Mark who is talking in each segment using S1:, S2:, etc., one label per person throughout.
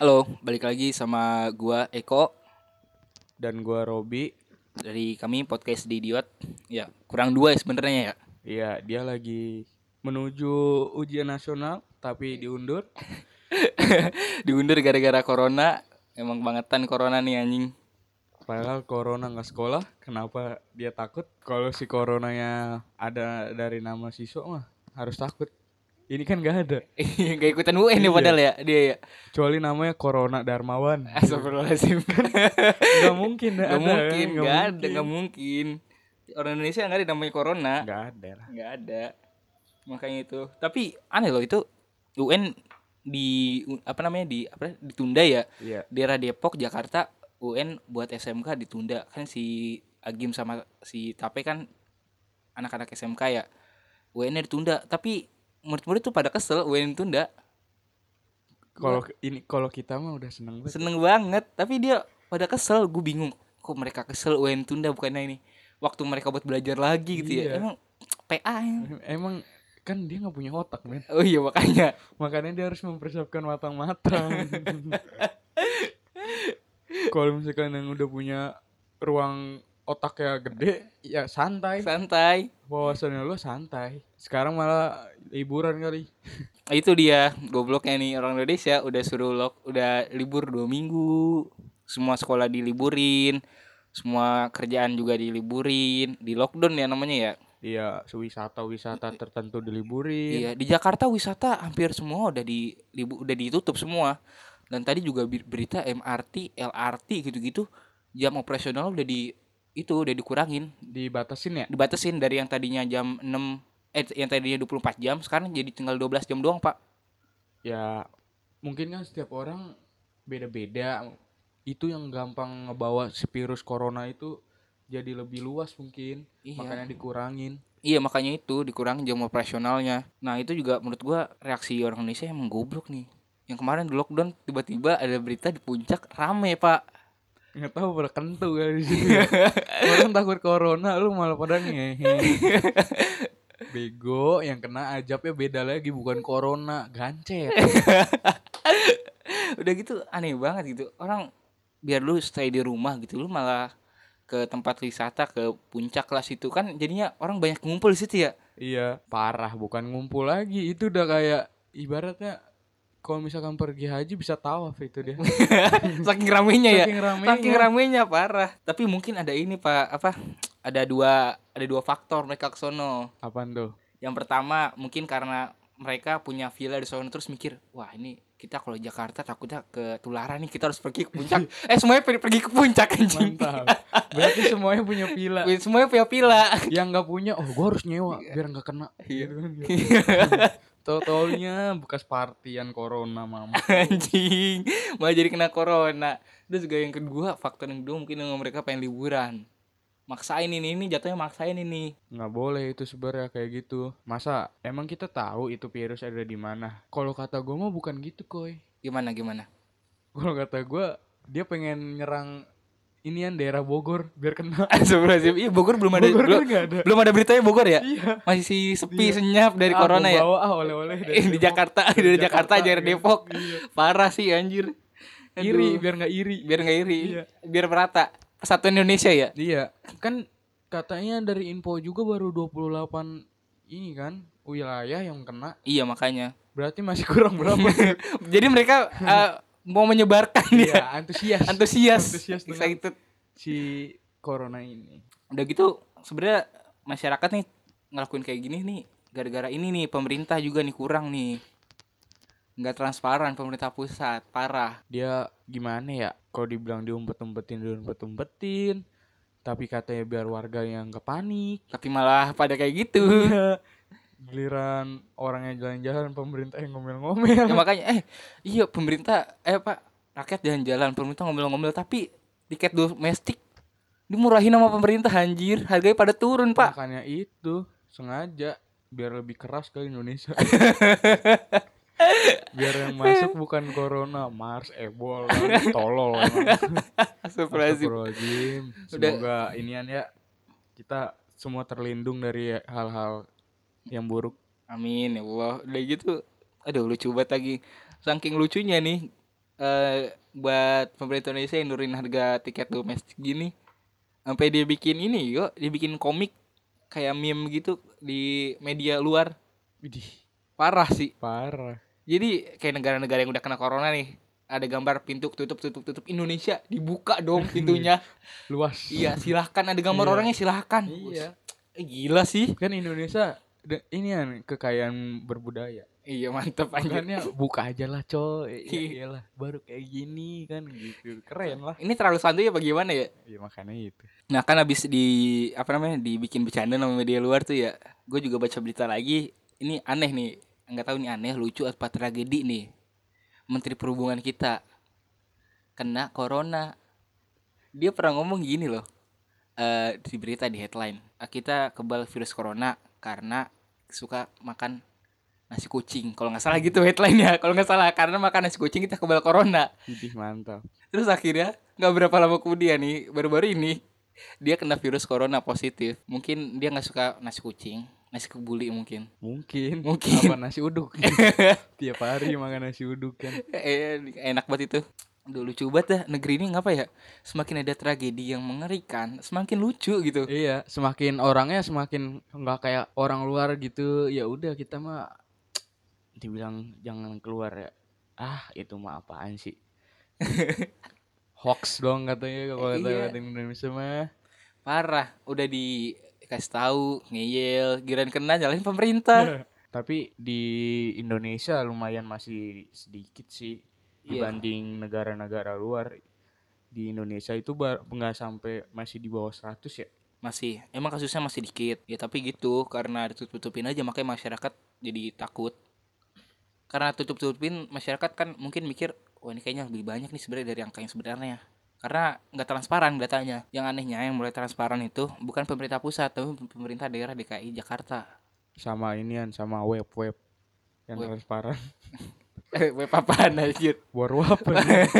S1: Halo, balik lagi sama gua Eko
S2: dan gua Robi.
S1: dari kami podcast di Idiot. Ya, kurang dua ya sebenarnya ya.
S2: Iya, dia lagi menuju ujian nasional tapi diundur.
S1: Diundur gara-gara corona. Emang bangetan corona nih anjing.
S2: Padahal corona nggak sekolah, kenapa dia takut? Kalau si coronanya ada dari nama siswa mah harus takut. Ini kan nggak ada.
S1: Gak ikutan UN nih padahal ya dia ya.
S2: Kecuali namanya Corona Darmawan.
S1: Astagfirullahaladzim.
S2: Nggak mungkin
S1: Gak
S2: ada.
S1: mungkin,
S2: nggak
S1: gak ada, gak mungkin. Orang Indonesia gak ada yang namanya corona.
S2: mungkin. Nggak ada lah.
S1: Gak ada. Makanya itu. Tapi aneh loh itu UN di apa namanya di apa ditunda ya.
S2: Iya.
S1: daerah Depok Jakarta UN buat SMK ditunda kan si Agim sama si Tape kan anak-anak SMK ya UN -nya ditunda tapi murid-murid tuh pada kesel UN ditunda
S2: Kalau ini kalau kita mah udah seneng banget.
S1: seneng banget tapi dia pada kesel gue bingung kok mereka kesel UN tunda bukannya ini waktu mereka buat belajar lagi gitu ya
S2: Iya.
S1: emang PA ya?
S2: Emang kan dia nggak punya otak, men.
S1: oh iya makanya
S2: Makanya dia harus mempersiapkan matang-matang. Kalau misalkan yang udah punya ruang otaknya gede, ya santai.
S1: santai
S2: Wawasannya lo santai. Sekarang malah liburan kali.
S1: itu dia gobloknya nih orang Indonesia udah suruh lo udah libur dua minggu semua sekolah diliburin semua kerjaan juga diliburin di lockdown ya namanya ya
S2: Iya, wisata-wisata tertentu diliburin.
S1: iya di Jakarta wisata hampir semua udah di libu- udah ditutup semua dan tadi juga bi- berita MRT LRT gitu-gitu jam operasional udah di itu udah dikurangin
S2: Dibatasin ya?
S1: dibatasin dari yang tadinya jam 6 eh yang tadinya 24 jam sekarang jadi tinggal 12 jam doang pak
S2: Ya, mungkin kan setiap orang beda-beda. Itu yang gampang ngebawa si virus corona itu jadi lebih luas mungkin.
S1: Iya.
S2: Makanya dikurangin.
S1: Iya makanya itu dikurangin jam operasionalnya. Nah itu juga menurut gua reaksi orang Indonesia emang goblok nih. Yang kemarin di lockdown tiba-tiba ada berita di puncak rame pak.
S2: nggak tahu pada kentu kali di sini. Orang takut corona, lu malah pada ngehe. Bego, yang kena ajabnya beda lagi bukan corona, gancet.
S1: Udah gitu aneh banget gitu. Orang biar lu stay di rumah gitu lu malah ke tempat wisata ke puncak lah situ kan jadinya orang banyak ngumpul di situ ya.
S2: iya, parah bukan ngumpul lagi. Itu udah kayak ibaratnya kalau misalkan pergi haji bisa tawaf itu dia.
S1: Saking ramenya ya.
S2: Saking ramenya.
S1: Saking ramenya parah. Tapi mungkin ada ini pak apa? Ada dua ada dua faktor mereka ke sono.
S2: Apaan tuh?
S1: Yang pertama mungkin karena mereka punya villa di sana terus mikir, wah ini kita kalau Jakarta takutnya ketularan nih kita harus pergi ke puncak. eh semuanya pergi pergi ke puncak anjing.
S2: Mantap. Berarti semuanya punya pila.
S1: semuanya punya villa.
S2: Yang nggak punya, oh gua harus nyewa biar nggak kena. Totolnya bekas partian corona mama.
S1: anjing. Malah jadi kena corona. Terus juga yang kedua, faktor yang kedua mungkin yang mereka pengen liburan. Maksain ini ini jatuhnya maksain ini.
S2: nggak boleh itu sebenarnya kayak gitu masa emang kita tahu itu virus ada di mana kalau kata gue mah bukan gitu koy
S1: Gimana gimana?
S2: kalau kata gue dia pengen nyerang inian daerah Bogor biar kena
S1: Astagfirullahaladzim. Iya Bogor belum ada
S2: Bogor
S1: belum,
S2: kan nggak ada.
S1: belum ada beritanya Bogor ya?
S2: Iya.
S1: Masih sepi senyap dari corona ya?
S2: bawa ah oleh-oleh dari
S1: Eh, di
S2: Depok.
S1: Jakarta dari Jakarta aja dari
S2: iya.
S1: Depok parah sih anjir Aduh.
S2: iri biar nggak iri
S1: biar nggak iri
S2: Iya.
S1: biar merata persatuan Indonesia ya
S2: iya kan katanya dari info juga baru 28 ini kan wilayah yang kena
S1: iya makanya
S2: berarti masih kurang berapa
S1: jadi mereka eh, mau menyebarkan ya
S2: ya antusias
S1: antusias,
S2: Antusias dengan-
S1: excited
S2: si corona ini
S1: udah gitu sebenarnya masyarakat nih ngelakuin kayak gini nih gara-gara ini nih pemerintah juga nih kurang nih nggak transparan pemerintah pusat parah
S2: dia gimana ya kalau dibilang diumpet-umpetin diumpet-umpetin tapi katanya biar warga yang nggak panik
S1: tapi malah pada kayak gitu
S2: giliran orangnya jalan-jalan pemerintah yang ngomel-ngomel
S1: ya makanya eh iya pemerintah eh pak rakyat jalan-jalan pemerintah ngomel-ngomel tapi tiket domestik dimurahin sama pemerintah anjir harganya pada turun pak
S2: makanya itu sengaja biar lebih keras ke Indonesia biar yang masuk bukan corona mars ebola tolol emang.
S1: Astagfirullahaladzim.
S2: Astagfirullahaladzim. semoga inian ya kita semua terlindung dari hal-hal yang buruk
S1: amin ya Allah udah gitu aduh lucu banget lagi saking lucunya nih eh buat pemerintah Indonesia yang nurunin harga tiket domestik gini sampai dia bikin ini yuk dia bikin komik kayak meme gitu di media luar
S2: Widih,
S1: parah sih
S2: parah.
S1: jadi kayak negara-negara yang udah kena corona nih ada gambar pintu tutup tutup tutup Indonesia dibuka dong pintunya
S2: Luas.
S1: iya silahkan ada gambar
S2: Iya.
S1: orangnya silahkan
S2: Iya.
S1: Eh, gila sih
S2: Kan Indonesia da- ini kan kekayaan berbudaya.
S1: iya mantep anjir
S2: Makanya buka aja lah, coy. Ya
S1: Iya.
S2: iyalah, baru kayak gini kan gitu. Keren lah.
S1: ini terlalu santuy apa gimana ya
S2: Ya makanya itu.
S1: Nah kan abis di apa namanya dibikin bercanda sama media luar tuh ya, gue juga baca berita lagi. Ini aneh nih, nggak tahu nih aneh, lucu apa tragedi nih. Menteri Perhubungan kita kena corona. Dia pernah ngomong gini loh, eh di berita di headline, "Ah, kita kebal virus corona karena suka makan nasi kucing. Kalau nggak salah gitu headline-nya. Kalau nggak salah karena makan nasi kucing kita kebal corona.
S2: Widih, mantap.
S1: Terus akhirnya nggak berapa lama kemudian nih baru-baru ini dia kena virus corona positif. Mungkin dia nggak suka nasi kucing, nasi kebuli mungkin.
S2: Mungkin.
S1: Mungkin.
S2: Apa nasi uduk. Tiap hari makan nasi uduk kan.
S1: Eh, enak banget itu. Aduh lucu banget dah negeri ini ngapa ya? Semakin ada tragedi yang mengerikan, semakin lucu gitu.
S2: Iya, semakin orangnya semakin nggak kayak orang luar gitu. Ya udah kita mah dibilang jangan keluar ya. Ah, itu mah apaan sih? Hoax dong katanya kalau kata
S1: Iya.
S2: orang Indonesia mah.
S1: Parah, udah dikasih tahu, ngeyel, giran kena nyalain pemerintah.
S2: Tapi di Indonesia lumayan masih sedikit sih
S1: Iya.
S2: dibanding negara-negara luar. Di Indonesia itu bar- nggak sampai masih di bawah 100 ya.
S1: Masih, emang kasusnya masih dikit. Ya tapi gitu, karena ditutup-tutupin aja makanya masyarakat jadi takut. Karena tutup-tutupin masyarakat kan mungkin mikir, wah ini kayaknya lebih banyak nih sebenarnya dari angka yang sebenarnya. Karena nggak transparan datanya. Yang anehnya yang mulai transparan itu bukan pemerintah pusat, tapi pemerintah daerah DKI Jakarta.
S2: Sama inian sama web-web yang
S1: Web.
S2: transparan.
S1: Eh, web apaan anjir?
S2: War-war apa nih?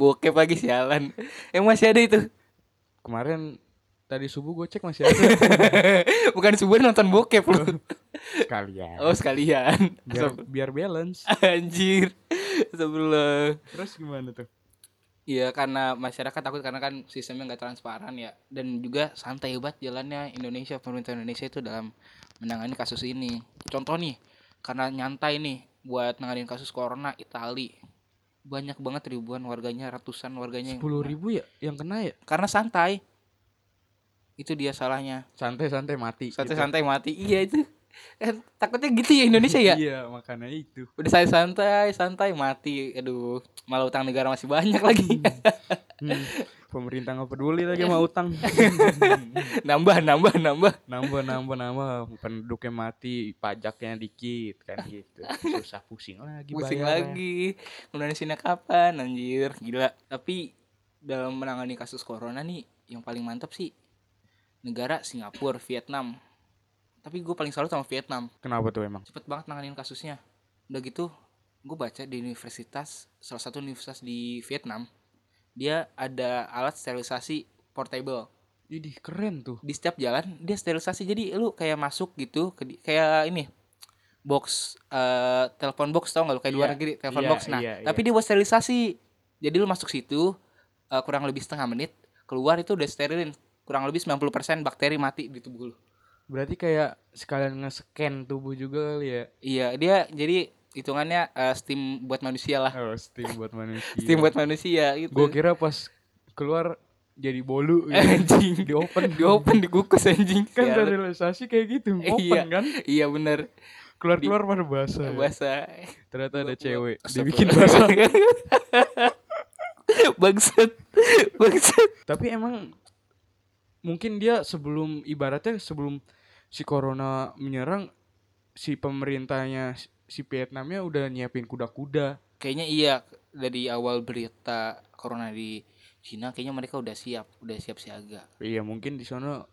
S1: Bokep lagi sialan. Emang masih ada itu?
S2: kemarin tadi subuh gue cek masih ada
S1: bukan subuh nonton bokep lu.
S2: sekalian
S1: Oh sekalian.
S2: biar, biar balance
S1: Anjir. Astagfirullah.
S2: terus gimana tuh
S1: Iya karena masyarakat takut karena kan sistemnya nggak transparan ya dan juga santai banget jalannya Indonesia pemerintah Indonesia itu dalam menangani kasus ini. Contoh nih karena nyantai nih buat nanganin kasus corona Itali banyak banget ribuan warganya ratusan warganya yang
S2: sepuluh
S1: kena.
S2: ribu ya yang kena ya
S1: karena santai itu dia salahnya
S2: santai santai mati gitu.
S1: santai-santai mati iya itu Eh, takutnya gitu ya Indonesia ya
S2: iya makanya itu
S1: udah saya santai santai mati aduh malah utang negara masih banyak lagi
S2: Hmm, pemerintah nggak peduli lagi
S1: Iya.
S2: mau utang
S1: nambah nambah nambah
S2: nambah nambah nambah penduduknya mati pajaknya dikit kan gitu susah pusing lagi
S1: pusing
S2: bayarnya.
S1: lagi kemudian sini kapan anjir gila tapi dalam menangani kasus corona nih yang paling mantap sih negara Singapura Vietnam tapi gue paling salut sama Vietnam
S2: kenapa tuh emang
S1: cepet banget nanganin kasusnya udah gitu gue baca di universitas salah satu universitas di Vietnam dia ada alat sterilisasi portable
S2: jadi keren tuh
S1: di setiap jalan dia sterilisasi jadi lu kayak masuk gitu ke di- kayak ini box eh telepon box tau nggak lu kayak di luar
S2: Iya,
S1: negeri telepon
S2: iya,
S1: box nah
S2: iya,
S1: tapi dia buat sterilisasi jadi lu masuk situ eh, kurang lebih setengah menit keluar itu udah sterilin kurang lebih 90% bakteri mati di tubuh lu
S2: berarti kayak sekalian nge-scan tubuh juga kali ya
S1: iya dia jadi hitungannya eh, steam buat manusia lah
S2: oh, steam buat manusia
S1: steam buat manusia gitu
S2: Gue kira pas keluar jadi bolu gitu.
S1: anjing
S2: di open
S1: di open dikukus anjing
S2: kan
S1: Sialan.
S2: realisasi kayak gitu
S1: Eh,
S2: open
S1: iya.
S2: kan
S1: iya bener
S2: keluar keluar pada basah ya.
S1: bahasa
S2: ternyata ada
S1: Gua-
S2: cewek
S1: gua-
S2: dibikin basah
S1: Astagfirullah. bangsat bangsat
S2: tapi emang mungkin dia sebelum ibaratnya sebelum si corona menyerang si pemerintahnya si Vietnamnya udah nyiapin kuda-kuda
S1: kayaknya iya dari awal berita corona di Cina kayaknya mereka udah siap udah siap siaga
S2: iya mungkin di sana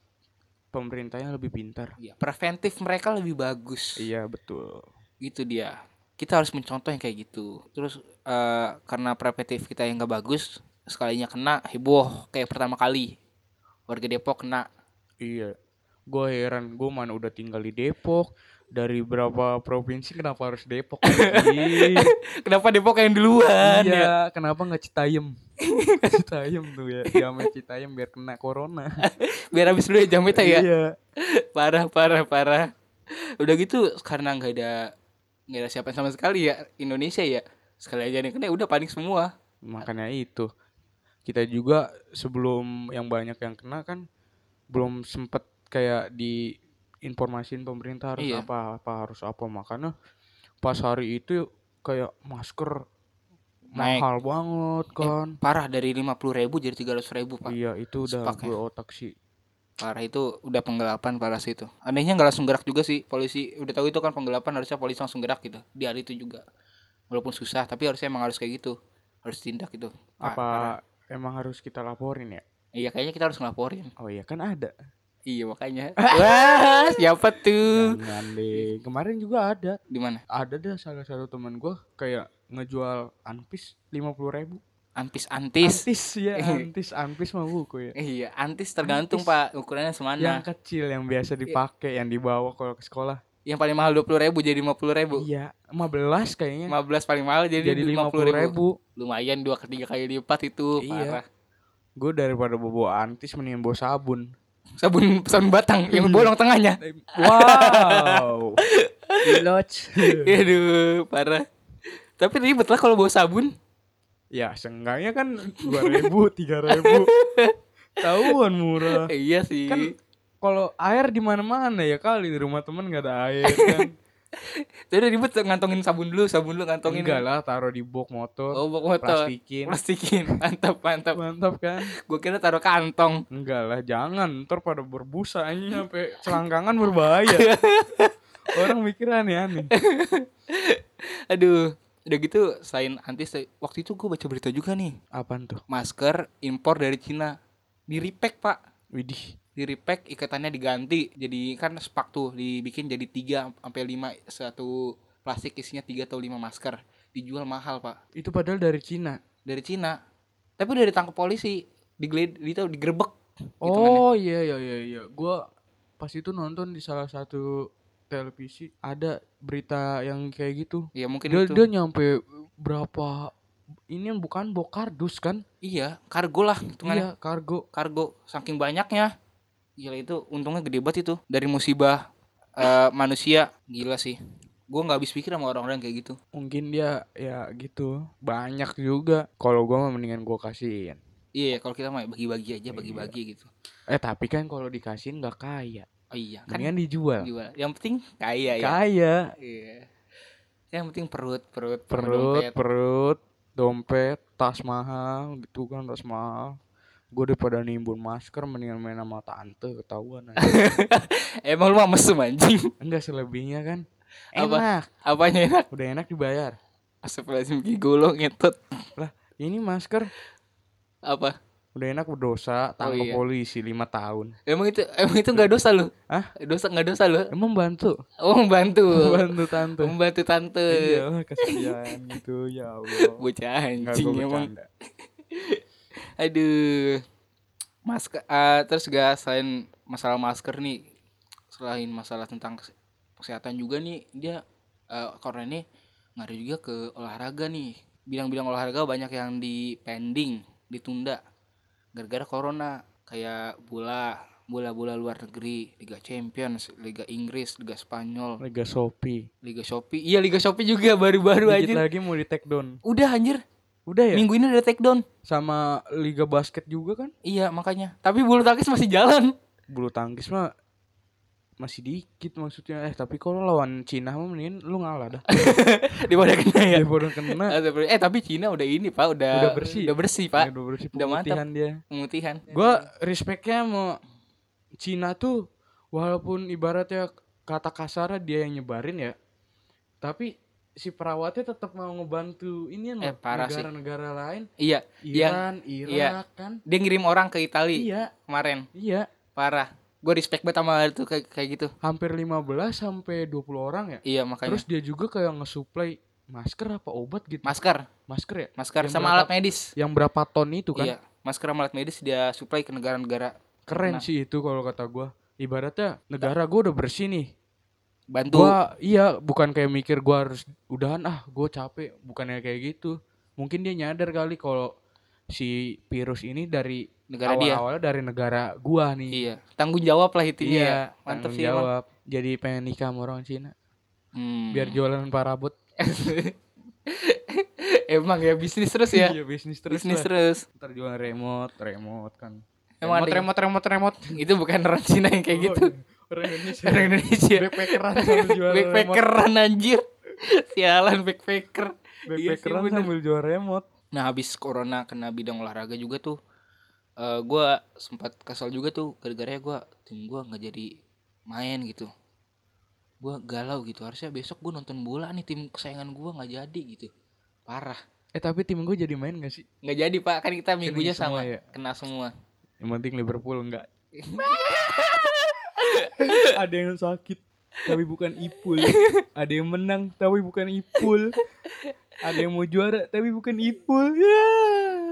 S2: pemerintahnya lebih pintar
S1: ya preventif mereka lebih bagus
S2: iya betul
S1: gitu dia kita harus mencontoh yang kayak gitu terus eh, karena preventif kita yang gak bagus sekalinya kena heboh kayak pertama kali warga Depok kena
S2: Iya. Gue heran, gue mana udah tinggal di Depok, dari berapa provinsi kenapa harus Depok? anjing?
S1: Kenapa Depok yang duluan ya?
S2: iya, kenapa nggak Citayam? Citayam tuh ya, jamet Citayam biar kena corona.
S1: Biar habis dulu ya jametnya ya.
S2: Iya.
S1: parah parah parah udah gitu karena nggak ada nggak ada siapa sama sekali ya Indonesia ya sekali aja nih kena udah panik semua
S2: Makanya itu kita juga sebelum yang banyak yang kena kan belum sempet kayak di informasiin pemerintah harus
S1: Iya.
S2: apa apa harus apa makanya pas hari itu kayak masker
S1: Naik.
S2: mahal banget kan.
S1: parah dari lima puluh ribu jadi tiga ratus ribu pak
S2: Iya itu udah
S1: sepak ya.
S2: gue otak sih.
S1: parah itu udah penggelapan parah sih itu anehnya nggak langsung gerak juga sih polisi udah tahu itu kan penggelapan harusnya polisi langsung gerak gitu di hari itu juga walaupun susah tapi harusnya emang harus kayak gitu harus tindak gitu Pa-
S2: Apa
S1: parah.
S2: emang harus kita laporin ya?
S1: iya kayaknya kita harus ngelaporin
S2: Oh iya kan ada.
S1: iya makanya wah siapa tuh
S2: Jangan deh. Kemarin juga ada.
S1: di mana
S2: Ada deh salah satu teman gua kayak ngejual anpis lima puluh ribu.
S1: antis antis
S2: Antis ya, antis, anpis mah buku ya.
S1: Iya, antis tergantung
S2: Antis.
S1: pak ukurannya semana.
S2: Yang kecil yang biasa dipakai yang dibawa kalau ke sekolah.
S1: Yang paling mahal dua puluh ribu jadi lima puluh ribu.
S2: Iya, 15 kayaknya.
S1: Lima belas paling mahal jadi,
S2: Jadi lima puluh ribu.
S1: Lumayan dua ke tiga kali lipat itu.
S2: Iya.
S1: Parah.
S2: Gue daripada bobo antis mendingan bawa sabun.
S1: Sabun sabun batang yang
S2: Hmm.
S1: bolong tengahnya.
S2: Wow. Iloch.
S1: Aduh, parah. Tapi ribet lah kalau bawa sabun.
S2: ya, seenggaknya kan 2000, 3000. Tahuan murah.
S1: Eh, iya sih.
S2: Kan kalau air di mana-mana ya kali di rumah temen gak ada air kan.
S1: Tapi ribet tuh ngantongin sabun dulu, sabun dulu ngantongin.
S2: Enggak lah, taruh di box motor.
S1: Oh, iya. bawa motor.
S2: Plastikin.
S1: Plastikin. Mantap, mantap.
S2: Mantap kan?
S1: Gue kira taruh kantong.
S2: Enggak lah, jangan. Ntar pada berbusa anjing sampai selangkangan berbahaya. Orang ya, mikir aneh-aneh.
S1: Aduh. Udah gitu selain antis waktu itu gue baca berita juga nih.
S2: Apaan tuh?
S1: masker impor dari Cina di repack pak
S2: Widih.
S1: di repack ikatannya diganti jadi kan sepak tuh dibikin jadi 3 sampai 5 satu plastik isinya 3 atau 5 masker dijual mahal pak
S2: Itu padahal dari Cina.
S1: dari Cina tapi udah ditangkap polisi digeled itu kan digerebek hitungannya.
S2: Oh iya iya iya iya. Gua pas itu nonton di salah satu televisi ada berita yang kayak gitu.
S1: ya mungkin
S2: Dia,
S1: itu
S2: dia nyampe berapa ini yang bukan bok kardus kan?
S1: iya kargo lah hitungannya
S2: Iya, kargo.
S1: kargo saking banyaknya gila itu untungnya gede banget itu dari musibah eh, manusia gila sih gue nggak habis pikir sama orang-orang kayak gitu
S2: Mungkin dia ya gitu. Banyak juga. Kalau gua mah mendingan gua kasihin.
S1: Iya, kalau kita mah bagi-bagi aja, bagi-bagi gitu.
S2: Eh tapi kan kalau dikasihin nggak kaya.
S1: Oh iya, kan
S2: Mendingan dijual.
S1: jual. Yang penting kaya ya.
S2: Kaya.
S1: Iya. Yang penting perut, perut, sama
S2: Perut,
S1: dompet.
S2: perut, dompet, tas mahal gitu kan tas mahal. Gue daripada nimbun masker mendingan main sama tante ketahuan aja.
S1: Emang lu mah mesum anjing.
S2: Enggak selebihnya kan.
S1: Apa?
S2: Enak,
S1: Apanya enak?
S2: udah enak dibayar.
S1: Astagfirullahaladzim, gigi lo ngetot.
S2: Lah, ini masker
S1: Apa?
S2: udah enak berdosa tangkap
S1: iya.
S2: polisi 5 tahun.
S1: Emang itu emang itu enggak dosa lu?
S2: Hah?
S1: Dosa enggak dosa lu?
S2: Emang bantu?
S1: Oh, membantu.
S2: Bantu tante.
S1: Membantu tante.
S2: Iya, kasihan gitu ya Allah.
S1: Bocah
S2: Enggak
S1: anjing
S2: gue
S1: emang.
S2: bercanda.
S1: Aduh. Masker eh, terus gak selain masalah masker nih, selain masalah tentang kes- kesehatan juga nih dia eh, corona ini ngaruh juga ke olahraga nih. Bidang-bidang olahraga banyak yang di pending, ditunda gara-gara corona. Kayak bola, bola-bola luar negeri, Liga Champions, Liga Inggris, Liga Spanyol,
S2: Liga Shopee.
S1: Liga Shopee. Iya, Liga Shopee juga baru-baru
S2: Dikit
S1: aja.
S2: lagi mau di take down.
S1: Udah anjir,
S2: Udah ya?
S1: minggu ini udah take down.
S2: Sama Liga Basket juga kan?
S1: Iya, makanya. Tapi bulu tangkis masih jalan.
S2: bulu tangkis mah masih dikit maksudnya eh tapi kalau lawan Cina mah mendingin lu ngalah dah
S1: daripada kena ya.
S2: daripada kena
S1: Eh tapi Cina udah ini pak, udah
S2: Udah bersih.
S1: udah bersih pak,
S2: udah bersih
S1: udah mantap.
S2: pemutihan dia
S1: pemutihan.
S2: gua respectnya sama Cina tuh walaupun ibaratnya kata kasarnya dia yang nyebarin ya tapi si perawatnya tetap mau ngebantu ini
S1: Eh, parah sih.
S2: negara-negara lain
S1: Iya, yang
S2: Iran Irak
S1: iya.
S2: kan
S1: dia ngirim orang ke Italia
S2: iya
S1: kemarin,
S2: iya
S1: parah. Gue respect banget sama itu kayak kayak gitu.
S2: hampir 15 sampai 20 orang ya
S1: Iya makanya.
S2: terus dia juga kayak ngesuplai masker apa obat gitu
S1: masker,
S2: masker ya
S1: masker
S2: Yang
S1: sama
S2: berapa-
S1: alat medis.
S2: yang berapa ton itu kan
S1: Iya, masker sama alat medis dia supply ke negara-negara Nah,
S2: keren sih itu kalau kata gua ibaratnya negara gua udah bersih nih
S1: bantu
S2: gua iya bukan kayak mikir gua harus udahan ah gua capek bukannya kayak gitu mungkin dia nyadar kali kalau si virus ini dari
S1: negara dia.
S2: awal-awalnya dari negara gua nih
S1: Iya, tanggung jawab lah intinya
S2: iya
S1: ya. Mantep
S2: tanggung
S1: sih emang.
S2: jawab jadi pengen nikah sama orang Cina
S1: Hmm.
S2: biar jualan parabot
S1: emang ya bisnis terus ya.
S2: Iya, bisnis terus
S1: bisnis
S2: lah.
S1: terus.
S2: ntar jualan remote remote kan
S1: Emang ada
S2: remote,
S1: yang-
S2: remote remote remote Oh, iya.
S1: Itu bukan orang Cina yang kayak gitu.
S2: orang Indonesia
S1: Orang Indonesia. Iya.
S2: backpackeran sambil jualan remote
S1: Backpackeran anjir. Sialan backpacker. Iya sih,
S2: backpackeran
S1: bener.
S2: sambil jual remote
S1: Nah habis corona kena bidang olahraga juga tuh eh Gue sempat kesal juga tuh Gara-gara gue tim gue gak jadi main gitu Gue galau gitu Harusnya besok gue nonton bola nih tim kesayangan gue gak jadi gitu Parah
S2: eh tapi tim gua jadi main gak sih
S1: Gak jadi pak kan kita minggunya
S2: semua
S1: sama
S2: ya?
S1: Kena semua
S2: Yang penting Liverpool enggak. ada yang sakit tapi bukan Ipul. Ada yang menang tapi bukan Ipul. Ada yang mau juara tapi bukan Ipul. Ya.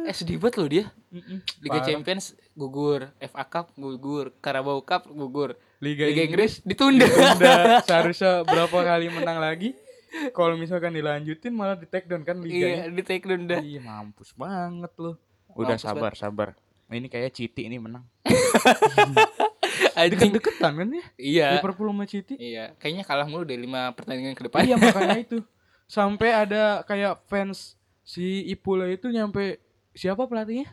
S1: Eh sedih banget loh dia
S2: Mm-mm.
S1: Liga
S2: Parah.
S1: Champions gugur FA Cup gugur Carabao Cup gugur
S2: Liga,
S1: Liga
S2: Inggris
S1: Inggris ditunda
S2: udah seharusnya berapa kali menang lagi. Kalau misalkan dilanjutin malah di take down kan
S1: Iya
S2: liganya.
S1: di take down dah
S2: Iya mampus banget loh. Udah
S1: Mampus
S2: sabar sabar. Ini kayak Citi ini menang.
S1: Anjing.
S2: Deket-deketan kan ya?
S1: Iya
S2: Liverpool sama Citi.
S1: Iya Kayaknya kalah mulu dari 5 pertandingan ke depan
S2: Iya makanya itu. Sampai ada kayak fans si Ipula itu nyampe siapa pelatihnya?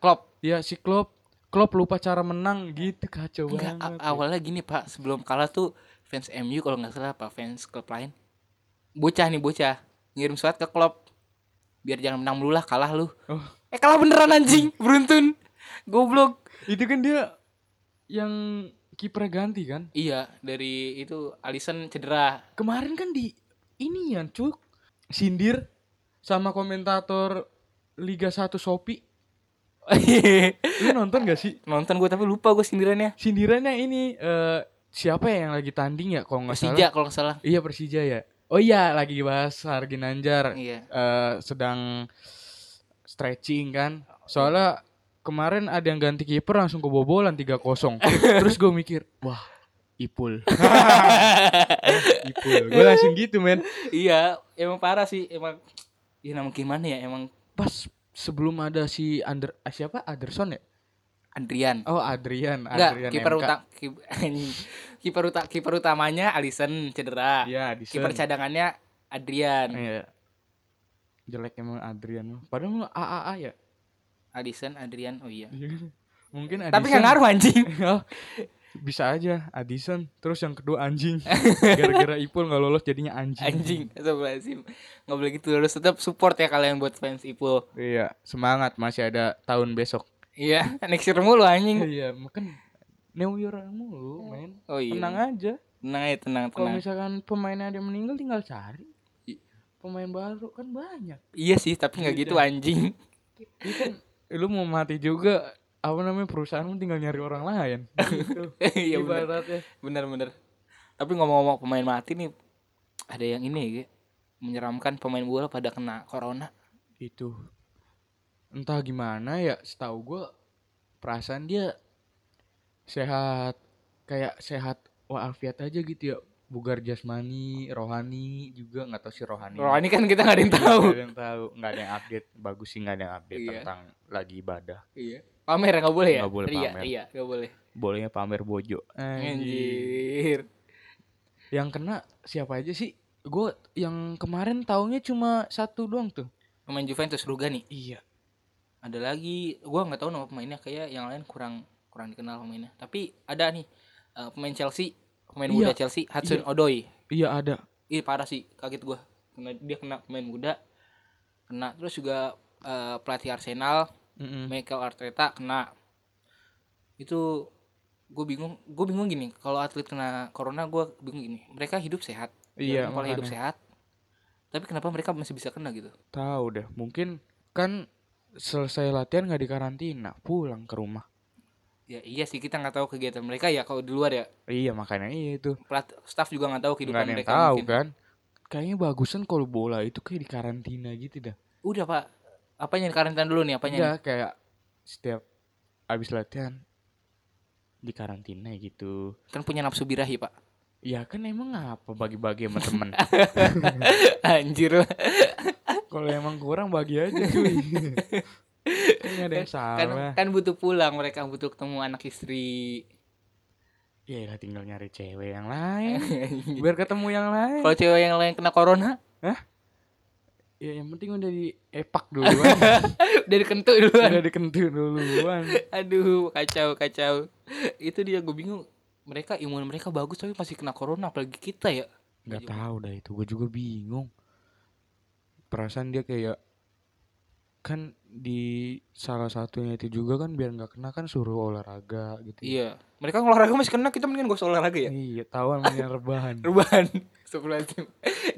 S1: Klop
S2: Ya si Klopp. Klopp lupa cara menang gitu kacau
S1: Enggak,
S2: banget.
S1: a- awalnya gini pak Sebelum kalah tuh fans MU kalau nggak salah pak Fans klub lain Bocah nih bocah Ngirim surat ke klub Biar jangan menang dulu lah kalah lu
S2: Oh.
S1: Eh kalah beneran anjing Beruntun Goblok
S2: Itu kan dia yang kiper ganti kan.
S1: Iya dari itu Alisson cedera
S2: Kemarin kan di ini yang cuk sindir sama komentator Liga 1 Shopee. Lu nonton gak sih?
S1: Nonton gue tapi lupa gue sindirannya
S2: Sindirannya ini eh, siapa ya yang lagi tanding ya kalau nggak salah?
S1: Persija kalau nggak salah
S2: Iya Persija ya. Oh iya lagi bahas Harginanjar.
S1: Iya
S2: eh sedang stretching kan. Soalnya kemarin ada yang ganti kiper langsung kebobolan 3-0. Terus gue mikir, wah, Ipul. Eh, Ipul. Gue langsung gitu, men.
S1: Iya emang parah sih Emang Ya nama gimana ya emang
S2: Pas sebelum ada si under ah, siapa? Anderson ya?
S1: Adrian
S2: Oh, Adrian,
S1: Enggak,
S2: Adrian
S1: kiper
S2: MK.
S1: utam kip- kiper uta- kiper utamanya Alisson cedera.
S2: Iya, di
S1: kiper
S2: Sun.
S1: cadangannya Adrian.
S2: Iya. Jelek emang Adrian. Padahal lu AAA ya.
S1: Alisson, Adrian. Oh iya.
S2: Mungkin Adison.
S1: Tapi nggak ngaruh anjing.
S2: Oh, bisa aja Addison terus yang kedua anjing gara-gara Ipul nggak lolos jadinya anjing
S1: Anjing, astagfirullahalazim. Nggak boleh gitu, harus tetap support ya kalian buat fans Ipul.
S2: iya semangat masih ada tahun besok
S1: Iya, next year mulu anjing.
S2: iya makan New Year mulu main
S1: Oh iya.
S2: tenang
S1: Tenang,
S2: aja
S1: tenang ya, tenang,
S2: kalau
S1: tenang.
S2: misalkan pemainnya ada yang meninggal tinggal cari
S1: I-
S2: pemain baru kan banyak
S1: Iya sih, tapi nggak gitu anjing.
S2: Iya kan lu mau mati juga apa namanya perusahaan lu tinggal nyari orang lain gitu
S1: Iya benar.
S2: ibaratnya
S1: Benar, benar. Tapi ngomong-ngomong pemain mati nih, ada yang ini ya, Ge. menyeramkan pemain bola pada kena corona.
S2: itu Gitu. entah gimana ya setahu gue perasaan dia sehat kayak sehat walafiat aja gitu ya bugar jasmani rohani juga nggak tahu si rohani
S1: Kalau ini kan kita nggak ada yang tahu.
S2: nggak ada yang tahu nggak ada yang update bagus sih nggak ada yang update
S1: Iya.
S2: tentang lagi ibadah
S1: Iya. Pamer nggak boleh ya?
S2: Nggak boleh
S1: Ria,
S2: pamer.
S1: Iya, nggak boleh.
S2: bolehnya pamer bojo
S1: Anjir.
S2: yang kena siapa aja sih gue yang kemarin taunya cuma satu doang tuh
S1: Pemain Juventus Rugani.
S2: iya
S1: Ada lagi, gua nggak tahu nama pemainnya kayak yang lain kurang kurang dikenal pemainnya. Tapi ada nih eh, pemain Chelsea, pemain
S2: Iya.
S1: muda Chelsea, Hudson Odoi.
S2: iya ada
S1: Ih, parah sih, kaget gua. Kena, dia kena pemain muda. Kena terus juga eh, pelatih Arsenal,
S2: Mm-mm.
S1: Michael Arteta kena. Itu gue bingung, gue bingung gini. Kalau atlet kena corona, gua bingung gini. Mereka hidup sehat,
S2: iya
S1: pola hidup
S2: makanya.
S1: sehat. Tapi kenapa mereka masih bisa kena gitu?
S2: Tahu deh, mungkin kan selesai latihan nggak di karantina, pulang ke rumah.
S1: Ya iya sih kita nggak tahu kegiatan mereka ya kalau di luar ya.
S2: Iya makanya iya itu.
S1: Pelat staff juga nggak tahu
S2: Nggak
S1: kehidupan
S2: ada yang
S1: mereka
S2: tahu
S1: mungkin.
S2: kan. Kayaknya bagusan kalau bola itu kayak di karantina gitu dah.
S1: Udah Pak. Apanya di karantina dulu nih apanya?
S2: Iya
S1: nih?
S2: kayak setiap abis latihan di karantina gitu.
S1: Kan punya nafsu birahi, Pak.
S2: Ya kan emang apa bagi-bagi sama temen
S1: Anjir.
S2: Kalau emang kurang bagi aja cuy Kan nggak ada yang
S1: kan,
S2: salah
S1: kan butuh pulang mereka butuh ketemu anak istri.
S2: Ya lah tinggal nyari cewek yang lain Biar ketemu yang lain
S1: Kalau cewek yang lain kena corona,
S2: Ya yang penting udah di epak duluan
S1: dari kentuk duluan.
S2: Udah dikentut duluan
S1: Aduh, kacau kacau. Itu dia gue bingung. Mereka imun mereka bagus tapi masih kena corona apalagi kita ya.
S2: Gak tahu dah itu Gue juga bingung Perasaan dia kayak Kan di salah satunya itu juga kan Biar nggak kena kan suruh olahraga gitu
S1: Iya. Mereka olahraga masih kena, kita mendingan gak usah olahraga ya.
S2: Iya, tahuan mendingan rebahan.
S1: Rubahan. Astagfirullahaladzim.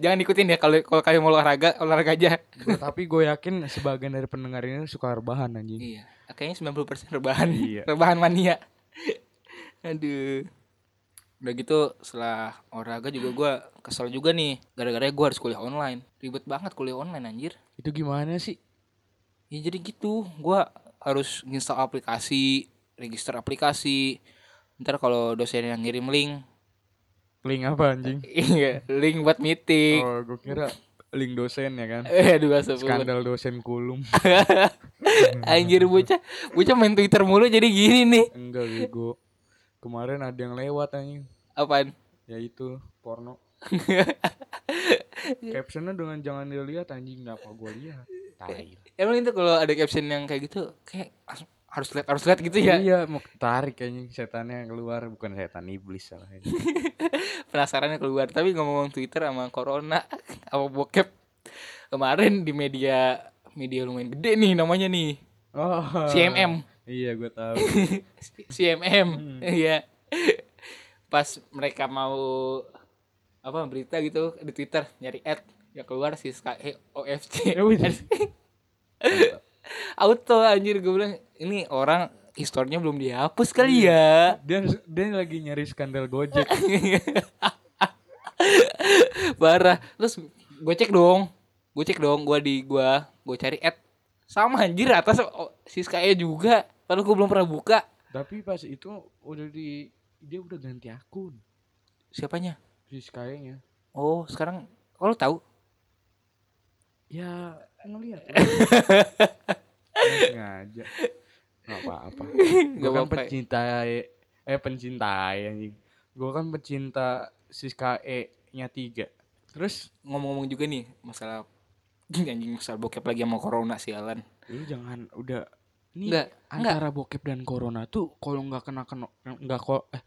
S1: Jangan ikutin ya kalau kalau kalian mau olahraga, olahraga aja.
S2: Gua- Nah, tapi gue yakin sebagian dari pendengar ini suka rebahan anjing.
S1: Iya. Kayaknya 90% rebahan.
S2: Iya.
S1: Rebahan mania. Aduh. Udah gitu setelah olahraga juga gua kesel juga nih. Gara-gara gua harus kuliah online. Ribet banget kuliah online anjir.
S2: Itu gimana sih?
S1: Ya jadi gitu, gua harus install aplikasi, register aplikasi. Ntar kalau dosen yang ngirim link,
S2: Link apa anjing?
S1: iya, link buat meeting.
S2: Oh, gue kira link dosen ya kan.
S1: Eh, aduh asap banget.
S2: Skandal dosen kulum.
S1: Anjir bocah, bocah main Twitter mulu jadi gini nih.
S2: Enggak bego. Kemarin ada yang lewat anjing,
S1: Apaan?
S2: yaitu porno. Captionnya dengan jangan dilihat anjing, kenapa gue lihat? Iya. Tai.
S1: Emang itu kalau ada caption yang kayak gitu, kayak harus- harus lihat harus lihat gitu ya.
S2: Iya, mau tarik anjing setannya keluar, bukan setan iblis salahnya.
S1: Penasarannya keluar. Tapi ngomong Twitter sama corona apa bokep kemarin di media media lumayan gede nih namanya nih.
S2: Oh.
S1: CMM.
S2: Iya, gue tahu.
S1: CMM iya pas mereka mau apa berita gitu di Twitter nyari ad ya keluar si Sky OFC
S2: Ya, wih.
S1: auto anjir gue bilang ini orang historinya belum dihapus kali ya
S2: Dia dia lagi nyari skandal Gojek.
S1: parah terus gue cek dong gue cek dong gue di gua gue cari ad sama anjir atas oh, si Sky juga padahal gue belum pernah buka
S2: Tapi pas itu udah di dia udah ganti akun
S1: siapanya
S2: si Sky-nya.
S1: oh sekarang kalau tahu
S2: Ya ngeliat Sengaja Gak apa-apa Gue kan
S1: apa-apa.
S2: pencinta Eh pencinta anjing Gue kan pencinta Siska E nya tiga Terus
S1: ngomong-ngomong juga nih masalah anjing masalah bokep lagi sama corona sialan.
S2: Lu jangan udah Ini
S1: Nggak,
S2: antara bokep dan corona tuh kalau nggak kena kena nggak ko- eh,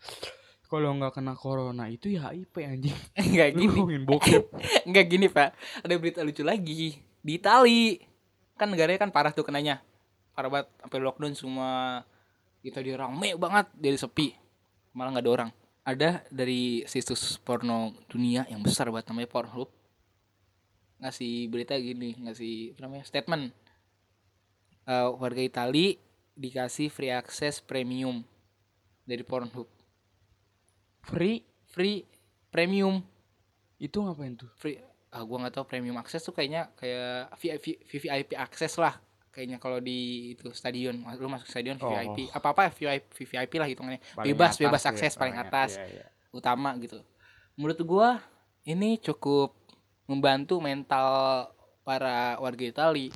S2: kalau nggak kena corona itu ya HIV anjing.
S1: Enggak
S2: Lu
S1: gini,
S2: ngomongin bokep.
S1: enggak gini, Pak. Ada berita lucu lagi di Itali. Kan negaranya kan parah tuh kenanya. Parah banget sampai lockdown semua Italia rame banget jadi sepi. Malah nggak ada orang. Ada dari situs porno dunia yang besar banget namanya Pornhub ngasih berita gini, ngasih apa namanya statement. Eh, warga Itali dikasih free access premium dari Pornhub.
S2: Free
S1: free premium
S2: itu ngapain tuh?
S1: free ah gua nggak tahu premium access tuh kayaknya kayak VIP VIP access lah kayaknya kalau di itu stadion lu masuk stadion
S2: Oh.
S1: VIP apa apa VIP VIP lah hitungannya bebas bebas
S2: ya,
S1: akses paling atas
S2: Iya,
S1: utama gitu menurut gua ini cukup membantu mental para warga Itali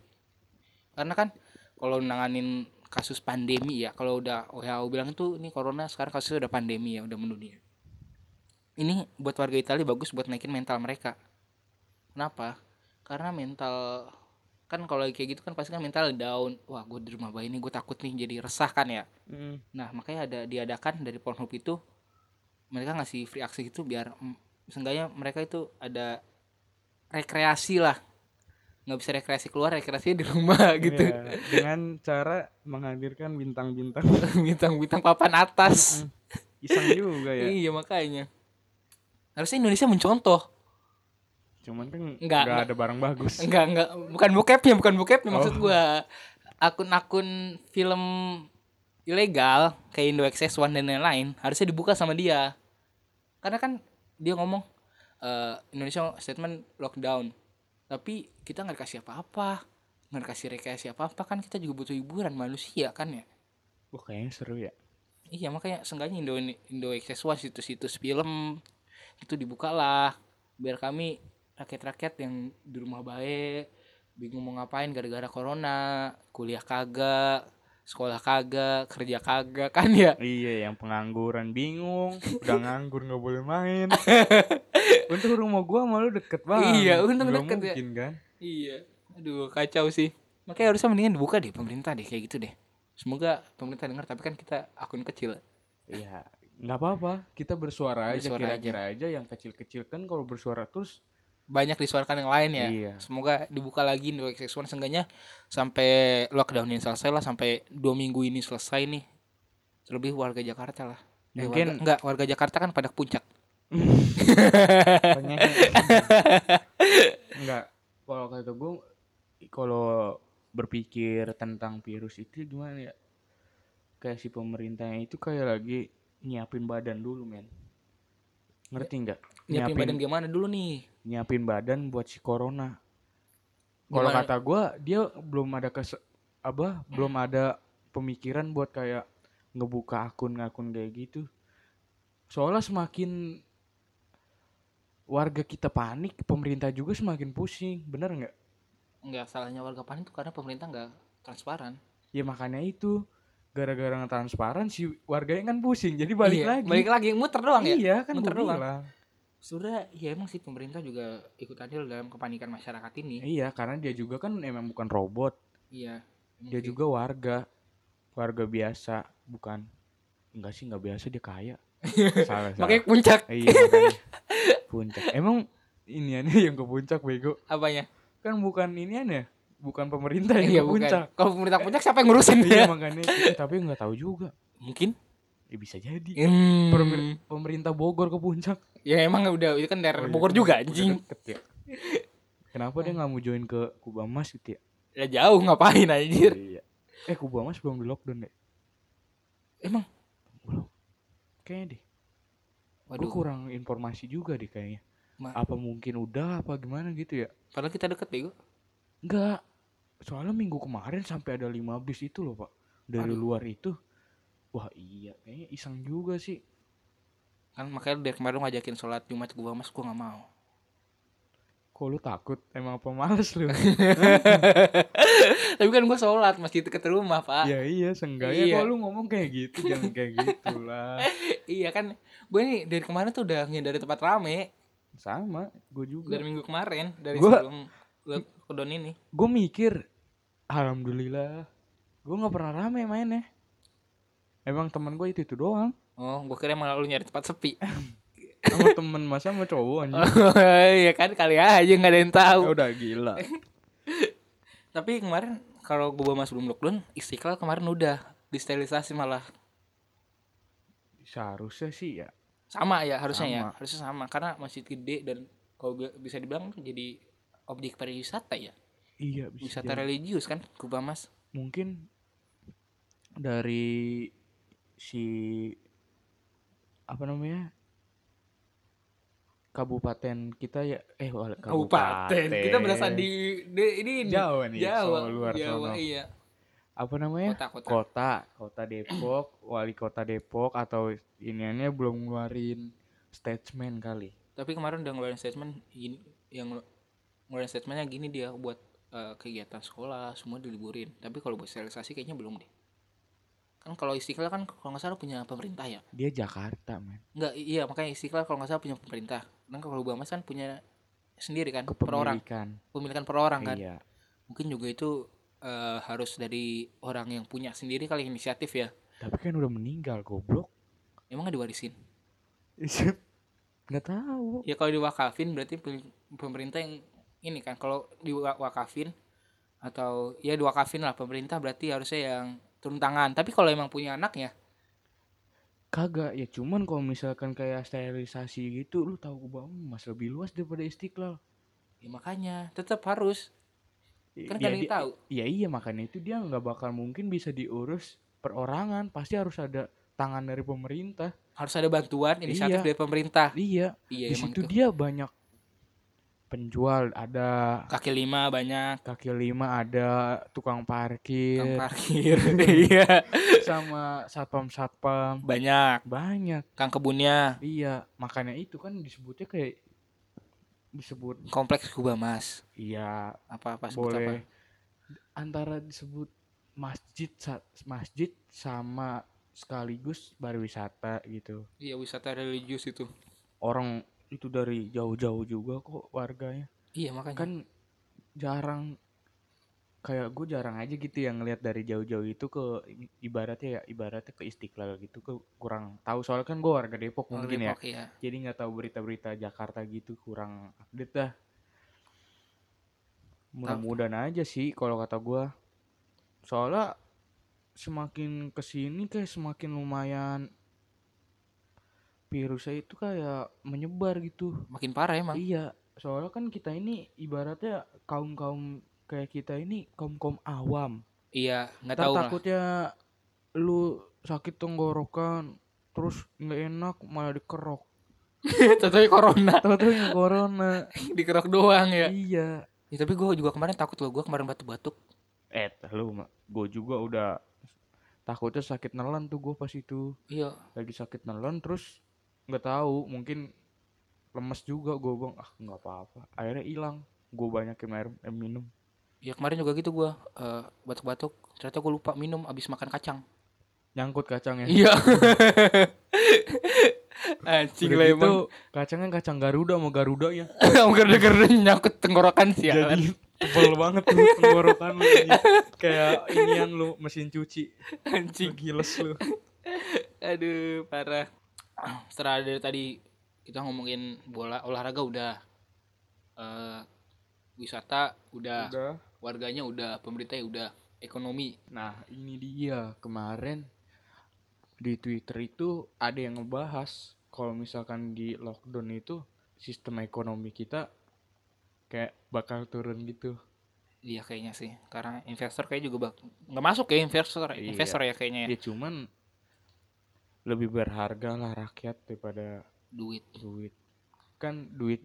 S1: karena kan kalau nanganin kasus pandemi ya kalau udah WHO bilang tuh ini corona sekarang kasusnya udah pandemi ya udah mendunia ini buat warga Italia bagus buat naikin mental mereka kenapa karena mental kan kalau lagi kayak gitu kan pasti kan mental down wah gue di rumah bayi ini gue takut nih jadi resah kan ya Nah, makanya ada diadakan dari Pornhub itu mereka ngasih free access itu biar mm, seenggaknya mereka itu ada rekreasi lah. nggak bisa rekreasi keluar, rekreasinya di rumah
S2: gitu.
S1: gitu.
S2: dengan cara menghadirkan bintang-bintang
S1: Bintang-bintang papan atas.
S2: iseng juga ya.
S1: Iya, makanya. Harusnya Indonesia mencontoh.
S2: Cuman kan
S1: Enggak,
S2: nggak ada barang bagus.
S1: Enggak, enggak, bukan bokepnya, bukan bokepnya maksud gua. Akun-akun film ilegal kayak Indo XS1 dan lain-lain harusnya dibuka sama dia. Karena kan dia ngomong eh, Indonesia statement lockdown. Tapi kita nggak dikasih apa-apa. Nggak dikasih rekayasa apa-apa kan kita juga butuh hiburan manusia kan ya.
S2: Wah kayaknya seru ya.
S1: Iya makanya seenggaknya Indo Indo XS1 situs-situs film itu dibukalah biar kami rakyat-rakyat yang di rumah baik bingung mau ngapain gara-gara corona kuliah kagak sekolah kagak kerja kagak kan ya
S2: Iya, yang pengangguran bingung, udah nganggur nggak boleh main. Untuk rumah gua malu deket banget.
S1: Iya, untung
S2: Nggak
S1: deket ya.
S2: mungkin kan.
S1: Iya. Aduh, kacau sih. Makanya harusnya mendingan dibuka deh pemerintah deh kayak gitu deh. Semoga pemerintah dengar tapi kan kita akun kecil.
S2: Iya, nggak apa-apa. Kita bersuara aja
S1: Bersuara
S2: kira-kira aja. yang kecil-kecil kan kalau bersuara terus
S1: Banyak disuarakan yang lain ya.
S2: Iya.
S1: Semoga dibuka lagi di XX1 seenggaknya sampai lockdownnya selesai lah sampai dua minggu ini selesai nih. Terlebih warga Jakarta lah. Eh, warga-
S2: Mungkin-
S1: enggak, warga Jakarta kan pada puncak.
S2: Enggak. Kalau kata gue, kalau berpikir tentang virus itu gimana ya? Kayak si pemerintahnya itu kayak lagi nyiapin badan dulu, men. Ngerti nggak?
S1: Ya, Nyiapin badan gimana dulu nih?
S2: nyiapin badan buat si corona. Kalau
S1: Gimana?
S2: kata gua dia belum ada kes apa belum ada pemikiran buat kayak ngebuka akun-akun kayak gitu. Soalnya semakin warga kita panik, pemerintah juga semakin pusing, bener nggak?
S1: Enggak salahnya warga panik tuh karena pemerintah enggak transparan.
S2: Ya makanya itu gara-gara nggak transparan si warganya kan pusing, jadi balik
S1: Iya,
S2: lagi.
S1: Balik lagi muter doang ya.
S2: Iya kan
S1: Muter
S2: gua
S1: doang.
S2: bilang.
S1: Sudah, ya emang sih pemerintah juga ikut andil dalam kepanikan masyarakat ini.
S2: Iya karena dia juga kan emang bukan robot.
S1: Iya.
S2: Dia
S1: mungkin.
S2: juga warga, warga biasa, bukan? Enggak sih, enggak biasa dia kaya. salah, salah.
S1: Makanya puncak
S2: iya, makanya. puncak. Emang iniannya yang ke puncak bego.
S1: apanya?
S2: Kan bukan inian ya? Bukan pemerintah yang
S1: Iya
S2: ke
S1: bukan.
S2: puncak.
S1: Kalau pemerintah puncak siapa yang ngurusin
S2: iya,
S1: dia?
S2: makanya. Eh, tapi enggak tahu juga.
S1: Mungkin.
S2: Ya bisa jadi.
S1: Hmm.
S2: Pemer- Pemerintah Bogor ke puncak.
S1: Ya emang udah itu kan daerah
S2: Oh iya,
S1: Bogor
S2: kan.
S1: juga
S2: Udah
S1: anjing.
S2: deket ya. Kenapa dia nggak mau join ke Kuba Mas gitu ya?
S1: Ya jauh ngapain anjir.
S2: Iya. Eh Kuba Mas belum di lockdown deh.
S1: Emang
S2: Belum. Kayaknya deh. Gue
S1: waduh.
S2: kurang informasi juga deh kayaknya.
S1: Ma-
S2: Apa mungkin udah apa gimana gitu ya?
S1: Padahal kita deket bego.
S2: Enggak. Soalnya minggu kemarin sampai ada 5 bis itu loh, Pak. Dari
S1: Aduh.
S2: luar itu. Wah, iya kayaknya iseng juga sih.
S1: Kan makanya dari kemarin lu ngajakin sholat Jumat gua Mas gua nggak mau.
S2: Kok lu takut? Emang apa males lu?
S1: Tapi kan gua sholat masjid deket rumah, Pak.
S2: ya iya, seenggaknya
S1: Ah. Iya.
S2: kok lu ngomong kayak gitu, jangan kayak gitu lah.
S1: iya kan. Gue nih dari kemarin tuh udah ngindari tempat rame
S2: Sama, gue juga.
S1: dari minggu kemarin dari
S2: Gua-
S1: sebelum lu lockdown ini.
S2: Gue mikir, alhamdulillah. Gue nggak pernah rame mainnya. Emang teman gue itu itu doang.
S1: Oh, gue kira malah lu nyari tempat sepi.
S2: Sama temen masa sama cowok anjing.
S1: Iya kan kali aja nggak ada yang tahu.
S2: Ya udah gila.
S1: Tapi kemarin kalau gue mas belum lockdown, Istiqlal kemarin udah disterilisasi malah
S2: Seharusnya sih ya.
S1: sama ya harusnya ya
S2: Sama.
S1: harusnya sama karena masjid gede dan kalau gua- bisa dibilang tuh jadi objek pariwisata ya
S2: Iya bisa.
S1: wisata
S2: jadi.
S1: religius kan Kuba Mas
S2: Mungkin dari si apa namanya? Kabupaten kita ya eh wala-
S1: kabupaten kita berasa di, di- ini ini.
S2: Jawa nih,
S1: Jawa
S2: Solo luar
S1: Jawa
S2: sono.
S1: iya
S2: apa namanya?
S1: kota kota
S2: Kota, kota Depok, wali kota Depok atau iniannya belum ngeluarin statement kali.
S1: tapi kemarin udah ngeluarin statement gini yang ngeluarin statementnya gini dia buat eh, kegiatan sekolah semua diliburin tapi kalau buat sterilisasi kayaknya belum deh kan kalau Istiqlal kan kalau nggak salah punya pemerintah ya
S2: Dia Jakarta, men.
S1: Enggak, i- iya makanya Istiqlal kalau nggak salah punya pemerintah. Dan kalau Bamas kan punya sendiri kan, per orang,
S2: Kepemilikan.
S1: pemilikan per orang kan.
S2: Iya.
S1: Mungkin juga itu eh, harus dari orang yang punya sendiri kali inisiatif ya.
S2: Tapi kan udah meninggal goblok.
S1: Emang nggak diwarisin? Iya.
S2: Nggak tahu.
S1: Ya kalau diwakafin berarti pem- pemerintah yang ini kan kalau diwakafin atau ya diwakafin lah pemerintah berarti harusnya yang turun tangan. Tapi kalau emang punya anaknya,
S2: Kagak ya cuman kalau misalkan kayak sterilisasi gitu lu tahu gua mas lebih luas daripada Istiqlal.
S1: ya makanya tetap harus. Kan
S2: Ya,
S1: kalian
S2: dia-
S1: tahu.
S2: ya iya makanya itu dia nggak bakal mungkin bisa diurus perorangan pasti harus ada tangan dari pemerintah.
S1: Harus ada bantuan inisiatif
S2: Iya.
S1: dari pemerintah.
S2: Iya
S1: Iya
S2: di
S1: emang
S2: situ
S1: itu.
S2: dia banyak penjual ada
S1: kaki lima banyak
S2: kaki lima ada tukang parkir
S1: tukang parkir iya
S2: sama satpam satpam
S1: banyak
S2: banyak
S1: kang kebunnya
S2: iya makanya itu kan disebutnya kayak disebut
S1: kompleks kubah mas
S2: iya
S1: apa apa sebut apa
S2: boleh antara disebut masjid sa- masjid sama sekaligus pariwisata gitu
S1: iya wisata religius itu
S2: orang itu dari jauh-jauh juga kok warganya
S1: iya makanya
S2: kan jarang kayak gue jarang aja gitu yang ngelihat dari jauh-jauh itu ke i- ibaratnya ya ibaratnya ke istiqlal gitu ke kurang tahu soalnya kan gue warga Depok
S1: Orang
S2: mungkin ya
S1: Depok, iya.
S2: jadi nggak tahu berita-berita Jakarta gitu kurang update dah mudah-mudahan aja sih kalau kata gua soalnya semakin kesini kayak semakin lumayan virusnya itu kayak menyebar gitu
S1: makin parah emang
S2: iya soalnya kan kita ini ibaratnya kaum kaum kayak kita ini kaum kaum awam
S1: iya nggak
S2: Ntar
S1: tahu lah
S2: takutnya lu sakit tenggorokan terus nggak enak malah dikerok
S1: tentunya corona
S2: Tahu-tahu yang corona.
S1: dikerok doang ya
S2: iya.
S1: Ya, tapi gue juga kemarin takut loh gue kemarin batuk-batuk
S2: Eh, lu gue juga udah takutnya sakit nelan tuh gue pas itu.
S1: iya
S2: Lagi sakit nelan terus nggak tahu, mungkin lemes juga gue bang. Ah, nggak apa-apa. Akhirnya hilang. Gue banyak air air minum.
S1: ya kemarin juga gitu gue eh, batuk-batuk ternyata gue lupa minum abis makan kacang
S2: Nyangkut kacangnya.
S1: iya anjing
S2: Udah
S1: lah
S2: gitu,
S1: emang
S2: kacangnya kacang Garuda sama Garuda ya.
S1: gerde-gerde nyangkut tenggorokan sih
S2: Jadi tebel banget tuh tenggorokan lu. anjing. Kayak inian lu mesin cuci.
S1: anjing
S2: Giles lu.
S1: aduh parah setelah dari tadi kita ngomongin bola olahraga udah Eh, wisata udah,
S2: Udah.
S1: warganya udah pemerintah ya udah ekonomi
S2: Nah, ini dia kemarin di Twitter itu ada yang ngebahas kalau misalkan di lockdown itu sistem ekonomi kita kayak bakal turun gitu.
S1: iya kayaknya sih karena investor kayak juga bak nggak masuk ya investor
S2: Iya.
S1: investor ya kayaknya ya.
S2: Ya cuman lebih berharga lah rakyat daripada
S1: duit
S2: duit. Kan duit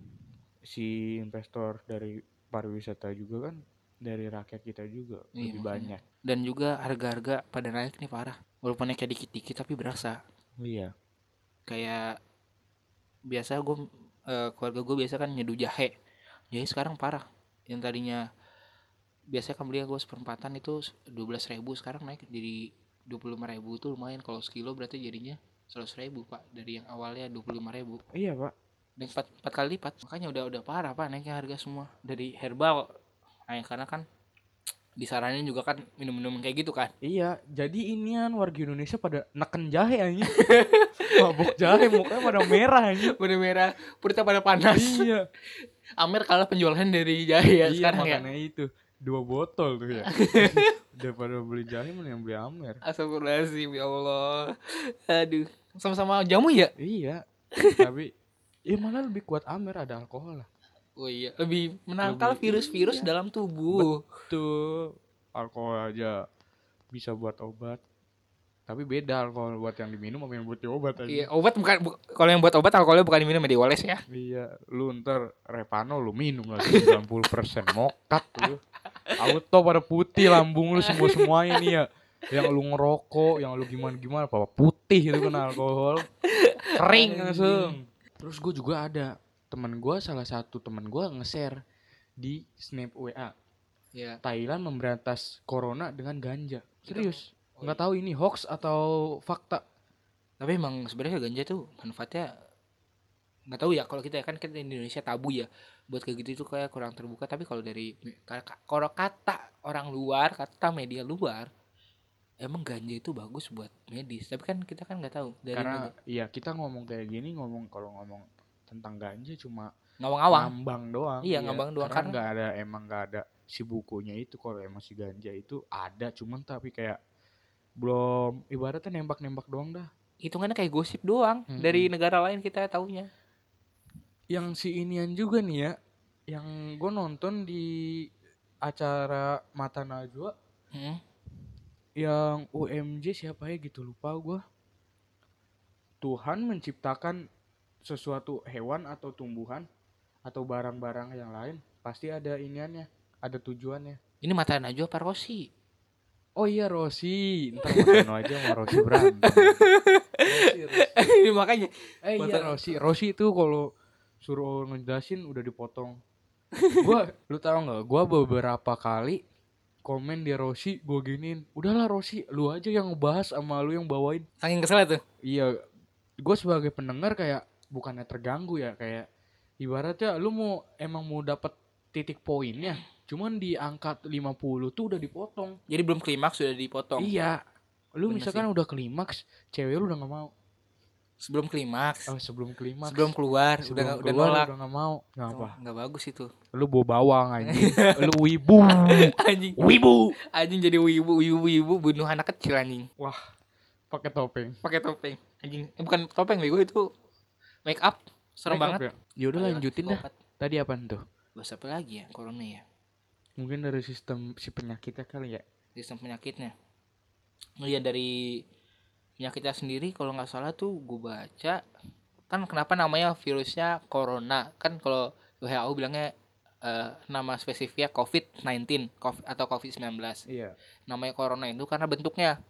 S2: si investor dari pariwisata juga kan dari rakyat kita juga
S1: Iya, makanya.
S2: lebih banyak.
S1: dan juga harga-harga pada naik nih parah walaupun naiknya dikit-dikit tapi berasa
S2: Iya.
S1: kayak biasa gue keluarga gue biasa kan nyeduh jahe jahe sekarang parah yang tadinya biasanya kan beli gue seperempatan itu dua belas ribu sekarang naik jadi dua puluh lima ribu itu lumayan kalau sekilo berarti jadinya seratus ribu pak dari yang awalnya dua puluh lima ribu
S2: Iya, Pak.
S1: naik empat empat kali lipat makanya udah udah parah pak naiknya harga semua dari herbal nah, yang karena kan disaranin juga kan minum-minum kayak gitu kan
S2: Iya, jadi inian warga Indonesia pada neken jahe anjing. Mabok jahe mukanya pada merah anjing.
S1: bener merah perutnya pada panas
S2: iya.
S1: Amer kalah penjualan dari jahe ya
S2: iya,
S1: sekarang ya
S2: makanya itu dua botol tuh ya. Daripada beli jahe mending beli Amer.
S1: Astagfirullahaladzim ya Allah Aduh Sama-sama jamu ya?
S2: Iya. Tapi ya malah lebih kuat Amer ada alkohol lah.
S1: Oh iya Lebih menangkal
S2: Lebih-
S1: virus-virus
S2: iya.
S1: dalam tubuh
S2: Tuh, alkohol aja bisa buat obat. Tapi beda alkohol buat yang diminum sama yang buat diobat
S1: Iya
S2: aja.
S1: obat bukan bu- Kalau yang buat obat alkoholnya bukan diminum ya dioles ya
S2: Iya, lu ntar Repano lu minum lagi 90% mokat lu. Auto pada putih lambung lu semua semuanya nih ya. Yang lu ngerokok, yang lu gimana gimana, apa putih itu kena alkohol. Kering langsung. Terus gue juga ada temen gue salah satu temen gue nge-share di snap WA
S1: Iya
S2: Thailand memberantas corona dengan ganja. Serius,
S1: Oh,
S2: nggak
S1: iya.
S2: tahu ini hoax atau fakta.
S1: Tapi emang sebenarnya ganja tuh manfaatnya nggak tahu ya kalau kita ya kan kita di Indonesia tabu ya buat kayak gitu itu kayak kurang terbuka tapi kalau dari kalau kata orang luar kata media luar emang ganja itu bagus buat medis tapi kan kita kan nggak tahu dari
S2: Karena ya kita ngomong kayak gini ngomong kalau ngomong tentang ganja cuma
S1: ngawang-ngawang
S2: ngambang doang
S1: Iya, ngambang doang,
S2: karena
S1: karena-
S2: nggak ada emang nggak ada si bukunya itu kalau emang si ganja itu ada cuman tapi kayak belum ibaratnya nembak nembak doang dah
S1: hitungannya kayak gosip doang
S2: Mm-mm.
S1: dari negara lain kita taunya
S2: yang si inian juga nih ya yang gue nonton di acara mata najwa yang UMJ siapa ya gitu lupa gua Tuhan menciptakan sesuatu hewan atau tumbuhan atau barang-barang yang lain pasti ada iniannya ada tujuannya
S1: Ini mata Najwa apa Rosi?
S2: oh iya Rosi ntar Marcelo aja sama Rosi berantem Rosi, Rosi.
S1: Ini makanya
S2: Eh iya
S1: Mata-
S2: Rossi, Rossi itu kalau suruh ngejelasin udah dipotong. gua lu tahu nggak? Gua beberapa kali komen di Rossi gua giniin. Udahlah Rossi, lu aja yang ngebahas sama lu yang bawain.
S1: saking kesel tuh.
S2: Iya, gua sebagai pendengar kayak bukannya terganggu ya kayak ibaratnya lu mau emang mau dapat titik poinnya, cuman diangkat 50 tuh udah dipotong.
S1: Jadi belum klimaks sudah dipotong.
S2: Iya. Lu
S1: Bener
S2: misalkan udah klimaks, cewek lu udah nggak mau.
S1: Sebelum klimaks,
S2: Oh, sebelum klimaks.
S1: sebelum keluar
S2: Sebelum
S1: udah nggak- udah
S2: keluar,
S1: nolak.
S2: udah nggak mau. Ngapa?
S1: Nggak bagus itu.
S2: lu bawa bawang anjing lu wibu
S1: Anjing,
S2: wibu
S1: anjing jadi wibu, wibu, wibu bunuh anak kecil anjing.
S2: wah pakai topeng
S1: Pakai topeng. Anjing, eh, bukan topeng bego itu make up. Serem
S2: Make up
S1: banget.
S2: ya yaudah
S1: Ayolah,
S2: lanjutin dah
S1: psikopat.
S2: tadi apa tuh
S1: Bahas apa lagi ya corona ya?
S2: mungkin dari sistem si penyakitnya kali ya
S1: Sistem penyakitnya. Oh iya dari penyakitnya sendiri kalau nggak salah tuh gue baca kan kenapa namanya virusnya corona kan kalau WHO bilangnya eh, nama spesifiknya COVID-19 COVID- atau COVID-19
S2: iya
S1: namanya corona itu karena bentuknya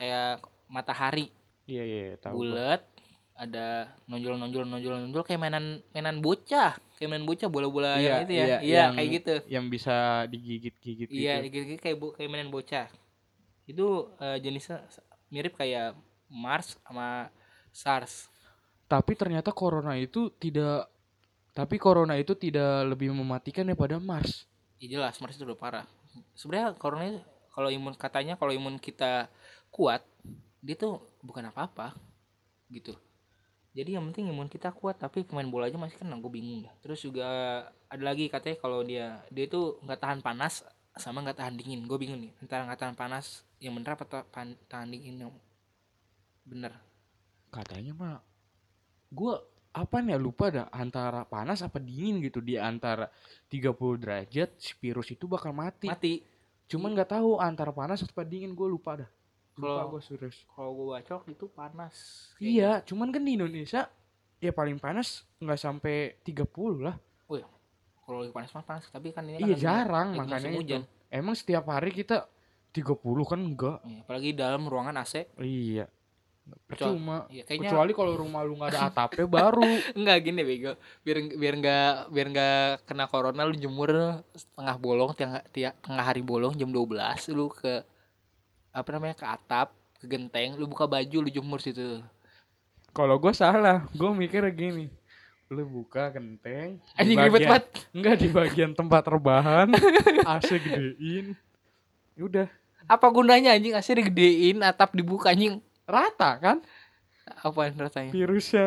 S1: kayak matahari
S2: iya iya tahu gua.
S1: bulat ada nonjol nonjol nonjol nonjol kayak mainan mainan bocah kayak mainan bocah bola bola yang itu ya iya,
S2: yang-
S1: kayak gitu
S2: yang bisa digigit gigit
S1: iya gitu, gitu kayak bu- kayak mainan bocah itu eh, jenisnya s- mirip kayak Mars sama SARS
S2: tapi ternyata corona itu tidak tapi corona itu tidak lebih mematikan daripada mars
S1: ya jelas Mars itu udah parah sebenarnya corona itu kalau imun katanya kalau imun kita kuat dia tuh bukan apa-apa gitu jadi yang penting imun kita kuat tapi pemain bola aja masih kena gue bingung dah terus juga ada lagi katanya kalau dia dia tuh nggak tahan panas sama nggak tahan dingin gue bingung nih antara nggak tahan panas yang bener apa ta- pan- tahan dingin yang bener
S2: katanya mah gua apa ya lupa dah antara panas apa dingin gitu di antara 30 derajat si virus itu bakal mati
S1: mati
S2: Cuman nggak tahu antara panas atau dingin gue lupa dah. Lupa
S1: Kalau-
S2: gue serius.
S1: kalau gue baca waktu itu panas gitu. Kayaknya.
S2: Iya, cuman kan di Indonesia ya paling panas nggak sampai 30 lah.
S1: kalau lagi panas panas tapi kan ini kan
S2: Iya
S1: lagi-
S2: jarang
S1: lagi musim
S2: makanya itu.
S1: hujan
S2: Emang setiap hari kita 30 kan enggak.
S1: Iya, apalagi dalam ruangan AC
S2: Iya. Percuma.
S1: Iya, kayaknya
S2: Kecuali kalau rumah lu nggak ada atapnya baru.
S1: enggak gini bego. Biar biar enggak biar enggak kena corona lu jemur setengah bolong tiang, tiang- tengah hari bolong jam 12 lu ke apa namanya ke atap, ke genteng, lu buka baju lu jemur situ.
S2: Kalau gue salah, gue mikir gini. Lu buka kenteng. di
S1: Anjing ribet
S2: bagian-
S1: banget.
S2: Enggak di bagian tempat rebahan. AC gedein. Ya Udah
S1: Apa gunanya anjing AC digedein, atap dibuka anjing?
S2: rata kan?
S1: Apaan
S2: Iya.
S1: rasanya?
S2: virusnya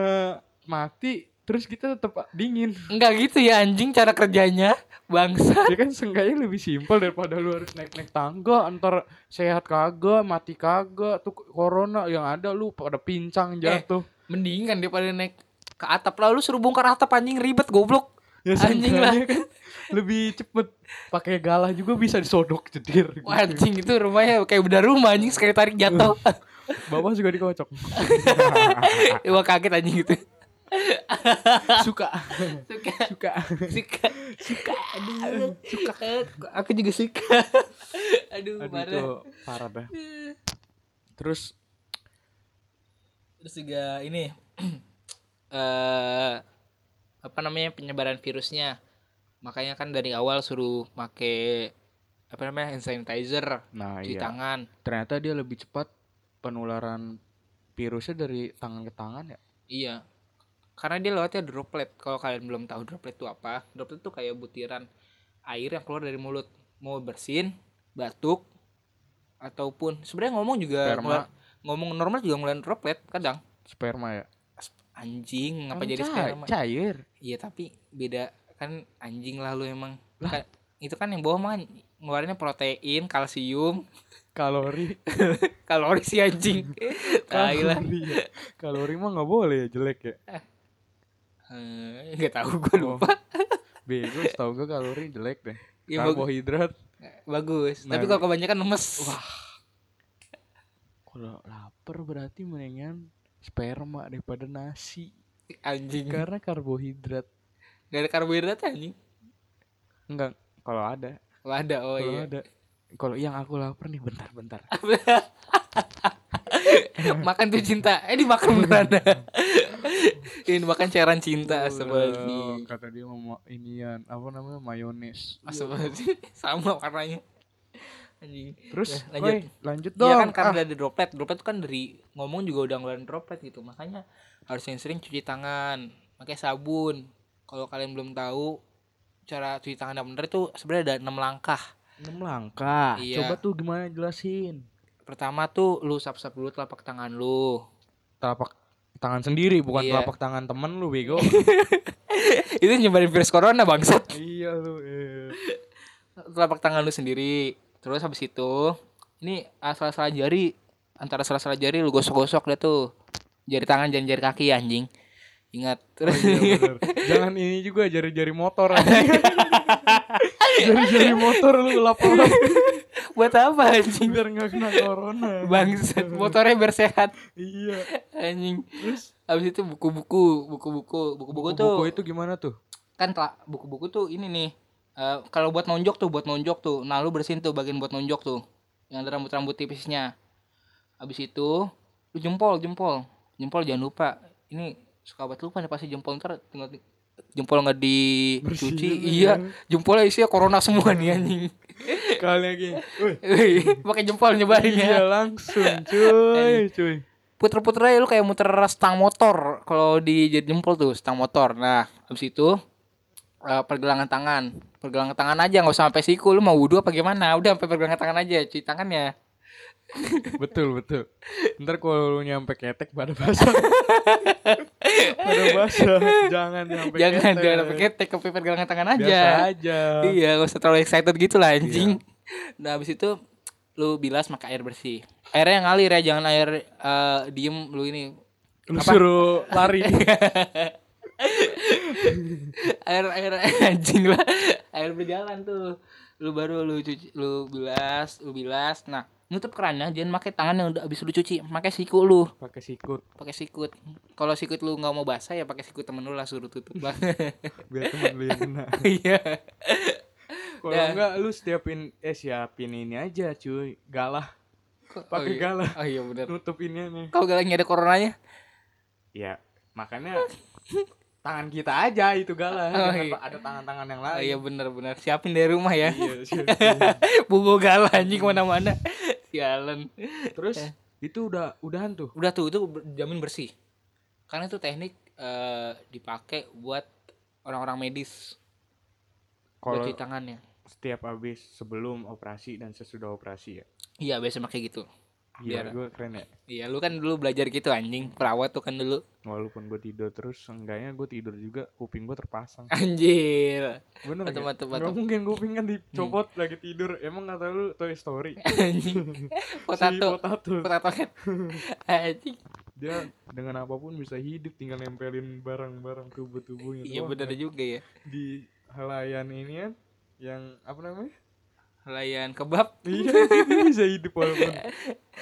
S2: mati terus kita tetap dingin
S1: Enggak gitu ya anjing cara kerjanya. Bangsa.
S2: ya kan seenggaknya lebih simpel daripada lu harus naik-naik tangga antar sehat kagak mati kagak tuh corona yang ada lu pada pincang jatuh
S1: Mendingan daripada naik ke atap lah lu suruh bongkar atap anjing ribet goblok.
S2: ya
S1: anjing lah.
S2: seenggaknya kan lebih cepet pakai galah juga bisa disodok cedir gitu.
S1: Wah, anjing itu rumahnya kayak beda rumah anjing sekali tarik jatuh.
S2: bapak juga dikocok
S1: Wah kaget anjing gitu.
S2: suka
S1: Suka.
S2: suka
S1: suka suka aduh suka aku juga suka aduh,
S2: aduh itu
S1: parah
S2: parah dah terus
S1: terus juga ini eh apa namanya penyebaran virusnya makanya kan dari awal suruh make apa namanya hand sanitizer
S2: nah
S1: cuci
S2: iya
S1: tangan
S2: ternyata dia lebih cepat penularan virusnya dari tangan ke tangan ya
S1: Iya. Karena dia lewatnya droplet. Kalau kalian belum tahu droplet itu apa, droplet itu kayak butiran air yang keluar dari mulut. Mau bersin, batuk, ataupun sebenarnya ngomong juga
S2: Sperma.
S1: ngeluar- ngomong normal juga ngeluarin droplet kadang.
S2: sperma ya
S1: Anjing, ngapa
S2: Kan
S1: jadi
S2: ca-
S1: sperma?
S2: cair
S1: Iya, tapi beda kan anjing lalu emang.
S2: Lah.
S1: Kan- itu kan yang bawah mah ngeluarinnya protein, kalsium,
S2: kalori
S1: kalori si anjing. Tai lah.
S2: kalori ya. kalori mah nggak boleh ya jelek ya
S1: Eh, Nggak tahu gue
S2: Oh,
S1: lupa.
S2: bego tau gue kalori jelek deh
S1: Ya, bag-
S2: karbohidrat
S1: bagus. Tapi
S2: Nah,
S1: kalau kebanyakan lemes.
S2: kalau lapar berarti mendingan sperma daripada nasi
S1: anjing
S2: Kan? karena karbohidrat
S1: Gak ada karbohidrat anjing.
S2: Enggak, kalau ada.
S1: Kalau ada, oh
S2: Kalau
S1: iya.
S2: ada. Kalau yang aku lapar nih bentar-bentar.
S1: makan tuh cinta. Eh
S2: Iya.
S1: dimakan beneran. Ini makan cairan cinta
S2: Oh,
S1: astagfirullahaladzim.
S2: Kata dia mau ma- inian, apa namanya? Mayones.
S1: Astagfirullahaladzim. Sama warnanya. Anjing.
S2: Terus,
S1: Ya, lanjut.
S2: lanjut. lanjut dong.
S1: Iya kan
S2: Ah,
S1: karena ada droplet. Droplet tuh kan dari ngomong juga udah ngeluarin droplet gitu. Makanya harus sering cuci tangan, pakai sabun. Kalau kalian belum tahu cara cuci tangan yang bener tuh sebenarnya ada enam langkah.
S2: enam langkah.
S1: Iya.
S2: Coba tuh gimana jelasin.
S1: Pertama tuh lu sap-sap dulu telapak tangan lu.
S2: Telapak tangan sendiri, bukan
S1: Iya.
S2: telapak tangan temen lu bego.
S1: Itu nyebarin virus corona bangsat.
S2: iya lu.
S1: telapak tangan lu sendiri terus habis itu ini ah, salah-salah jari antara salah-salah jari lu gosok-gosok deh tuh jari tangan jangan jari kaki ya, anjing ingat
S2: Oh,
S1: terus
S2: Iya, Jangan ini juga jari-jari motor. anjing. jari-jari motor lu lapor
S1: buat apa anjing
S2: biar nggak kena corona.
S1: bangsat motornya biar sehat
S2: Iya.
S1: anjing
S2: Terus
S1: habis itu buku-buku buku-buku buku-buku tuh
S2: buku itu gimana tuh?
S1: kan tela- buku-buku tuh ini nih eh, kalau buat nonjok tuh buat nonjok tuh nah lu bersihin tuh bagian buat nonjok tuh yang ada rambut-rambut tipisnya habis itu lu jempol jempol jempol jangan lupa ini suka buat lupa nih pasti jempol ntar tinggal di- jempol nggak dicuci
S2: Bersihin ya.
S1: iya jempolnya isinya corona semua nih anjing
S2: Kali lagi. Wih,
S1: pakai jempol nyebarin
S2: Iya
S1: ya
S2: langsung cuy, cuy.
S1: puter-puter aja lu kayak muter stang motor kalau di jari jempol tuh stang motor nah habis itu eh, pergelangan tangan pergelangan tangan aja nggak usah sampai siku lu mau wudhu apa gimana udah sampai pergelangan tangan ya. aja cuci tangannya
S2: Betul, betul. Ntar kalau lu nyampe ketek pada basah. pada basah. Jangan nyampe
S1: jangan
S2: ketek.
S1: jangan sampai ketek sampai pergelangan tangan aja
S2: Biasa aja. Iya.
S1: iya nggak usah terlalu excited gitu lah anjing nah habis itu lu bilas pakai air bersih airnya ngalir ya jangan air eh, diem lu ini
S2: Lu suruh lari.
S1: air air anjing lah air berjalan tuh lu baru lu cuci lu bilas lu bilas nah nutup kerannya jangan pakai tangan yang udah habis lu cuci pakai siku lu
S2: Pakai sikut
S1: pakai sikut kalau sikut lu nggak mau basah ya pakai sikut temen lu lah suruh tutup lah
S2: biar temen lu yang kena.
S1: iya
S2: Kalau
S1: Dah.
S2: enggak lu siapin eh siapin ini aja cuy. Galah.
S1: iya.
S2: Pakai galah.
S1: oh iya bener
S2: Nutup ini nih.
S1: kalau galaknya ada coronanya
S2: Ya, makanya tangan kita aja itu galah.
S1: Oh,
S2: Jangan
S1: iya.
S2: ada tangan-tangan yang
S1: oh
S2: lain.
S1: iya bener bener siapin dari rumah ya
S2: Iya, siap.
S1: bugo galak anjing mana mana sialan
S2: Terus itu udah udahan tuh.
S1: udah tuh itu ber- jamin bersih karena itu teknik eh, dipakai buat orang-orang medis
S2: Kalau
S1: buat cuci tangannya
S2: setiap habis sebelum operasi dan sesudah operasi ya.
S1: iya biasa pakai gitu
S2: Iya,
S1: Biar-
S2: gue keren ya.
S1: iya lu kan dulu belajar gitu anjing perawat tuh kan dulu
S2: Walaupun gue tidur terus, seenggaknya gue tidur juga kuping gue terpasang.
S1: anjir
S2: Bener
S1: Mantap,
S2: ya?
S1: mantap,
S2: Gak
S1: mantap.
S2: mungkin kuping kan dicopot lagi tidur. Emang kata lu Toy Story?
S1: anjing
S2: Si
S1: potato
S2: potato.
S1: potato head anjing
S2: Dia dengan apapun bisa hidup, tinggal nempelin barang-barang tubuh
S1: iya
S2: tubuhnya. Gitu doang. kan.
S1: bener juga ya
S2: Di halayan ini kan, yang apa namanya?
S1: layan kebab
S2: Iya, dia bisa hidup walaupun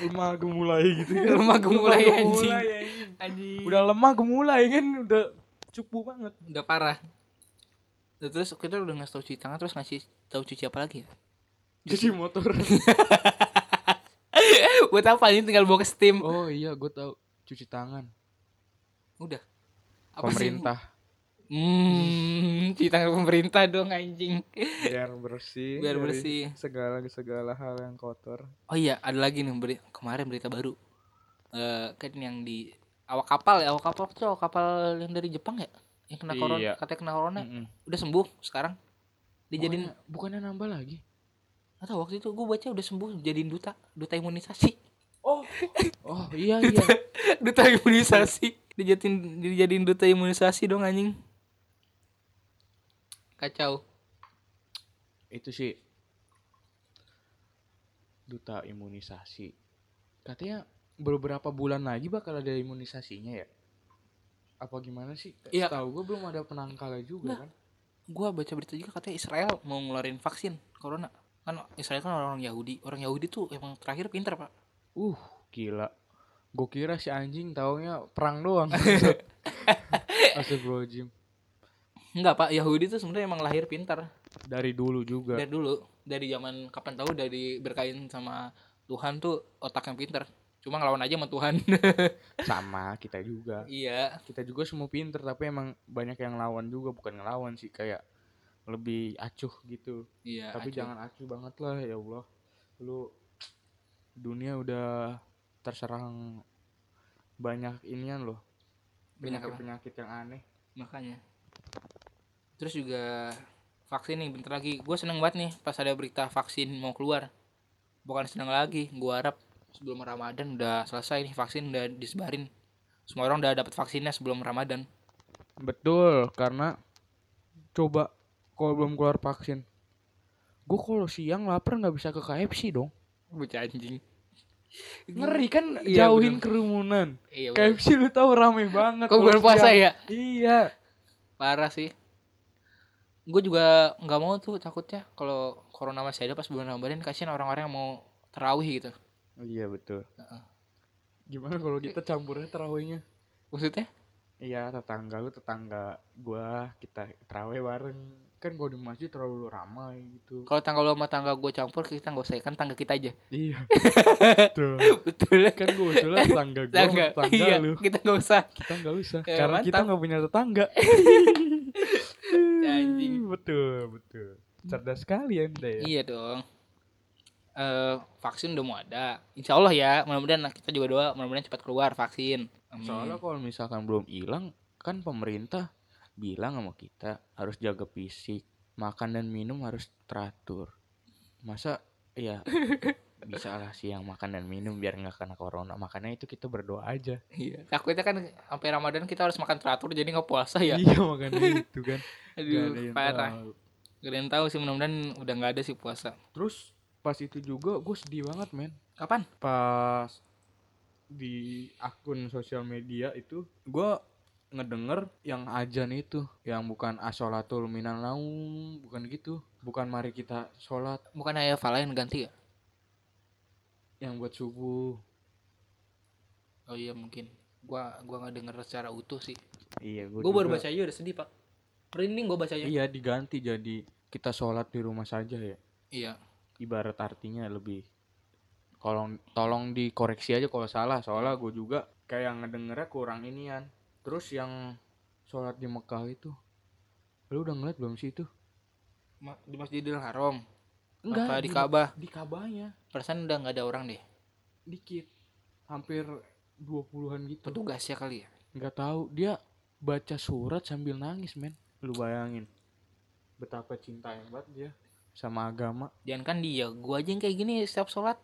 S2: lemah gemulai gitu kan.
S1: Lemah gemulai,
S2: Lemah
S1: anjing.
S2: gemulai, anjing.
S1: anjing udah
S2: Udah lemah gemulai kan udah cupu banget.
S1: udah parah Nah, terus kita udah ngasih tau cuci tangan terus ngasih tau cuci apa lagi ya?
S2: Jadi motor.
S1: buat apa anjing tinggal bawa ke steam
S2: oh iya, gue tahu cuci tangan.
S1: udah
S2: Pemerintah
S1: sih? hmm cuci tangan pemerintah dong anjing
S2: biar bersih.
S1: Biar
S2: dari
S1: bersih.
S2: Segala segala hal yang kotor.
S1: Oh iya, ada lagi nih beri- kemarin berita baru. Eh kan yang di awak kapal ya, awak kapal tuh awak kapal yang dari Jepang ya, yang kena corona,
S2: Iya.
S1: katanya kena corona,
S2: Mm-mm.
S1: udah sembuh sekarang. Nah, Dijadiin
S2: Bukannya- bukannya nambah lagi?
S1: atau waktu itu gue baca udah sembuh jadiin duta, duta imunisasi.
S2: Oh. Oh iya iya.
S1: duta imunisasi. Dijadiin dijadiin duta imunisasi dong anjing. Kacau.
S2: Itu sih duta imunisasi. Katanya beberapa bulan lagi bakal ada imunisasinya ya? Apa gimana sih?
S1: Iya.
S2: Tahu gue belum ada penangkalnya juga kan.
S1: Gua baca berita juga katanya Israel mau ngeluarin vaksin corona. Kan Israel kan orang-orang Yahudi. Orang Yahudi tuh emang terakhir pinter, Pak.
S2: Uh, gila. Gue kira si anjing taunya perang doang. Astagfirullahaladzim.
S1: Enggak pak, Yahudi itu sebenarnya emang lahir pintar
S2: dari dulu juga
S1: dari dulu, dari zaman kapan tahu dari berkain sama Tuhan tuh otak yang pintar. Cuma ngelawan aja sama Tuhan.
S2: sama kita juga
S1: iya,
S2: kita juga semua pinter tapi emang banyak yang lawan juga bukan ngelawan sih kayak lebih acuh gitu
S1: iya.
S2: tapi
S1: acuh.
S2: jangan acuh banget lah ya Allah lu dunia udah terserang banyak inian loh
S1: Banyak
S2: penyakit
S1: apa?
S2: penyakit yang aneh
S1: makanya. Terus juga vaksin nih bentar lagi. Gue seneng banget nih pas ada berita vaksin mau keluar. Bukan seneng lagi, gua harap sebelum Ramadan udah selesai nih vaksin udah disebarin. Semua orang udah dapat vaksinnya sebelum Ramadan.
S2: betul karena coba kalau belum keluar vaksin gue kalau siang lapar nggak bisa ke KFC dong
S1: Bocah anjing.
S2: ngeri kan
S1: Iya,
S2: jauhin
S1: bener.
S2: kerumunan
S1: Iya. bener.
S2: KFC lu tahu rame banget
S1: Kok
S2: kalau
S1: bulan puasa
S2: siang.
S1: ya?
S2: iya
S1: Parah sih. Gue juga nggak mau tuh takutnya kalau corona masih ada pas bulan Ramadan kasihan orang-orang yang mau terawih gitu.
S2: iya betul
S1: Heeh.
S2: gimana kalau kita campurnya terawihnya
S1: Maksudnya?
S2: Iya tetangga lu tetangga gua kita terawih bareng kan gua di masjid terlalu ramai gitu
S1: Kalau tanggal lo sama tangga gue campur kita nggak usah kan tangga kita aja.
S2: iya tuh
S1: Betul.
S2: kan gua usulnya tetangga Eh, gua sama
S1: Tangga.
S2: tetangga
S1: Iya,
S2: lu
S1: kita nggak usah.
S2: kita nggak usah
S1: Kayak
S2: karena kita
S1: mantap.
S2: nggak punya tetangga
S1: Anjing.
S2: betul betul cerdas sekali anda ya
S1: Iya dong. Eh vaksin udah mau ada. Insya Allah ya. Mudah-mudahan kita juga doa. Mudah-mudahan cepat keluar vaksin. Amin.
S2: soalnya kalau misalkan belum hilang kan pemerintah bilang sama kita harus jaga fisik makan dan minum harus teratur masa ya bisa lah siang makan dan minum biar nggak kena corona makanya itu kita berdoa aja
S1: Iya. Takutnya kan sampai Ramadan kita harus makan teratur jadi nggak puasa ya.
S2: iya makanya itu kan Nggak ada
S1: Aduh
S2: yang
S1: parah.
S2: tahu.
S1: Gak ada yang tahu sih mudah-mudahan udah nggak ada sih puasa.
S2: terus pas itu juga gue sedih banget men
S1: Kapan?
S2: pas di akun sosial media itu gua ngedenger yang ajan itu yang bukan asolatul minan laum bukan gitu bukan mari kita sholat
S1: Bukan ayah Fala yang ganti ya?
S2: yang buat subuh
S1: Oh iya mungkin. Gua gua nggak denger secara utuh sih.
S2: iya
S1: Gua baru baca ya. aja udah sedih pak. Merinding gua bacanya.
S2: iya diganti jadi kita sholat di rumah saja ya
S1: Iya.
S2: ibarat artinya lebih kalau tolong dikoreksi aja kalau salah soalnya gue juga kayak ngedengernya kurang inian terus yang sholat di Mekah itu lu udah ngeliat belum sih itu
S1: Ma- Di Masjidil Haram.
S2: Enggak,
S1: Apa di
S2: di-
S1: Ka'bah?
S2: di kabahnya
S1: Perasaan udah nggak ada orang deh.
S2: dikit hampir 20-an gitu
S1: Petugasnya kali ya.
S2: nggak tahu dia baca surat sambil nangis men lu bayangin betapa cinta yang banget dia sama agama
S1: Jangan kan dia, gua aja yang kayak gini setiap sholat.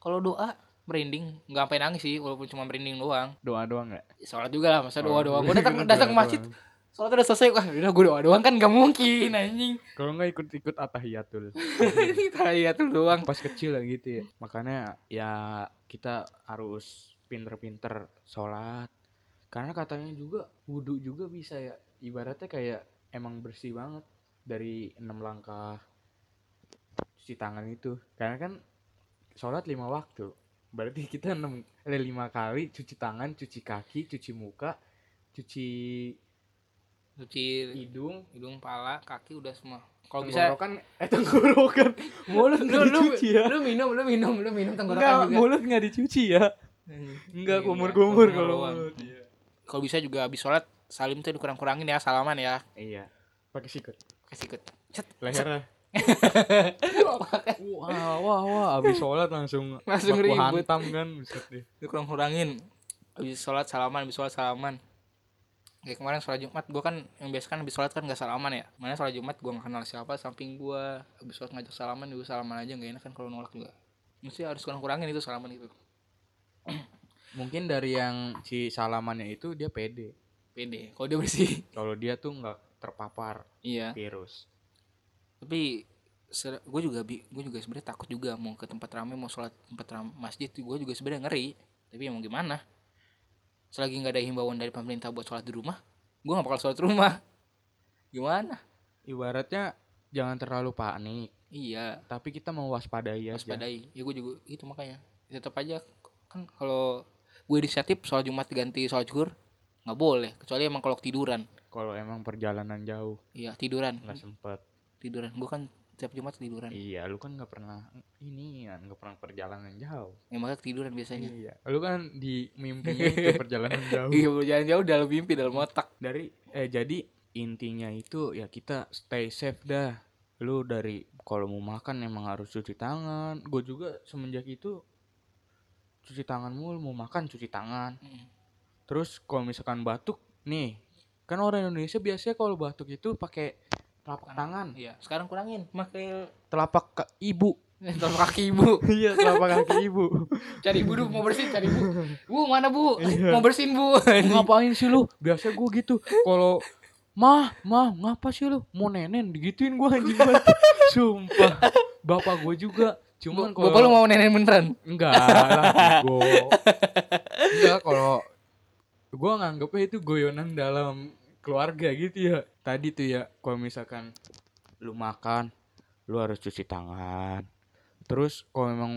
S1: Kalau doa merinding, nggak sampai nangis sih, walaupun cuma merinding doang.
S2: doa doang nggak
S1: Sholat juga lah, masa doa doang.
S2: Oh,
S1: Gua datang
S2: doa
S1: datang ke masjid,
S2: doang.
S1: sholat udah selesai, wah udah gua doa doang kan nggak mungkin anjing.
S2: kalau nggak ikut-ikut atahiyatul
S1: Ini tuh doang.
S2: pas kecil ya gitu ya makanya ya kita harus pinter-pinter sholat karena katanya juga wudhu juga bisa ya ibaratnya kayak emang bersih banget dari enam langkah cuci tangan itu karena kan sholat lima waktu berarti kita enam eh, lima kali cuci tangan cuci kaki cuci muka cuci
S1: Cuci
S2: hidung
S1: hidung, pala, kaki udah semua. Kalau bisa
S2: tenggorokan eh tenggorokan mulut nggak dicuci ya
S1: lu minum, lu minum, lu minum
S2: Nggak,
S1: tenggorokan juga.
S2: mulut nggak dicuci ya Enggak,
S1: Iya,
S2: kumur-kumur
S1: kumur
S2: kalau
S1: doang.
S2: mulut. Iya.
S1: Kalau bisa juga habis sholat salim tuh dikurang-kurangin ya, salaman ya.
S2: Iya. Pakai sikut.
S1: Kasih ikut. Cet.
S2: Lehernya. wah, wah, wah, abis sholat langsung
S1: Langsung
S2: baku
S1: ribut.
S2: hantam kan, buset deh.
S1: dikurang-kurangin habis sholat salaman habis sholat salaman kayak kemarin sholat jumat gue kan yang biasa kan habis sholat kan gak salaman ya mana sholat jumat gue gak kenal siapa samping gue habis sholat ngajak salaman juga salaman aja gak enak kan kalau nolak juga mesti harus kurang-kurangin itu salaman itu
S2: Mungkin dari yang si salamannya itu dia pede.
S1: pede kalau dia bersih
S2: Kalau dia tuh nggak terpapar
S1: iya
S2: virus.
S1: tapi gue juga bi gue juga sebenarnya takut juga mau ke tempat ramai mau sholat tempat ramai masjid gue juga sebenarnya ngeri tapi ya mau gimana selagi nggak ada himbauan dari pemerintah buat sholat di rumah gue gak bakal sholat di rumah gimana
S2: Ibaratnya jangan terlalu panik,
S1: iya
S2: tapi kita mewaspadai aja.
S1: waspadai ya gue juga itu makanya tetap aja kan kalau gue inisiatif soal jumat diganti soal zuhur nggak boleh kecuali emang kalau tiduran
S2: kalau emang perjalanan jauh
S1: Iya, tiduran.
S2: nggak sempet
S1: Tiduran. Gua kan tiap Jumat tiduran.
S2: iya lu kan nggak pernah ini ya nggak pernah perjalanan jauh
S1: Ya, makanya tiduran biasanya.
S2: iya lu kan di mimpinya itu perjalanan jauh
S1: Iya, jalan jauh dalam mimpi, dalam otak.
S2: dari eh jadi intinya itu ya kita stay safe dah lu dari kalau mau makan emang harus cuci tangan gue juga semenjak itu cuci tangan mulu mau makan cuci tangan
S1: Mm.
S2: terus kalau misalkan batuk nih kan orang Indonesia biasanya kalau batuk itu pakai telapak tangan
S1: Iya, sekarang kurangin. Pakai
S2: telapak ka- ibu
S1: telapak kaki ibu.
S2: iya telapak kaki ibu
S1: Cari ibu dulu, mau bersin, cari ibu. Bu, mana bu? Mau bersin bu.
S2: ngapain sih lu biasa gue gitu kalau mah mah ngapa sih lu mau nenen digituin gue anjing banget sumpah bapak gue juga cuman
S1: Bapak lu
S2: kalau
S1: mau nenek beneran?
S2: enggak lah gue enggak kalau gue nganggepnya itu goyonan dalam keluarga gitu ya tadi tuh ya kalau misalkan lu makan lu harus cuci tangan terus kalau memang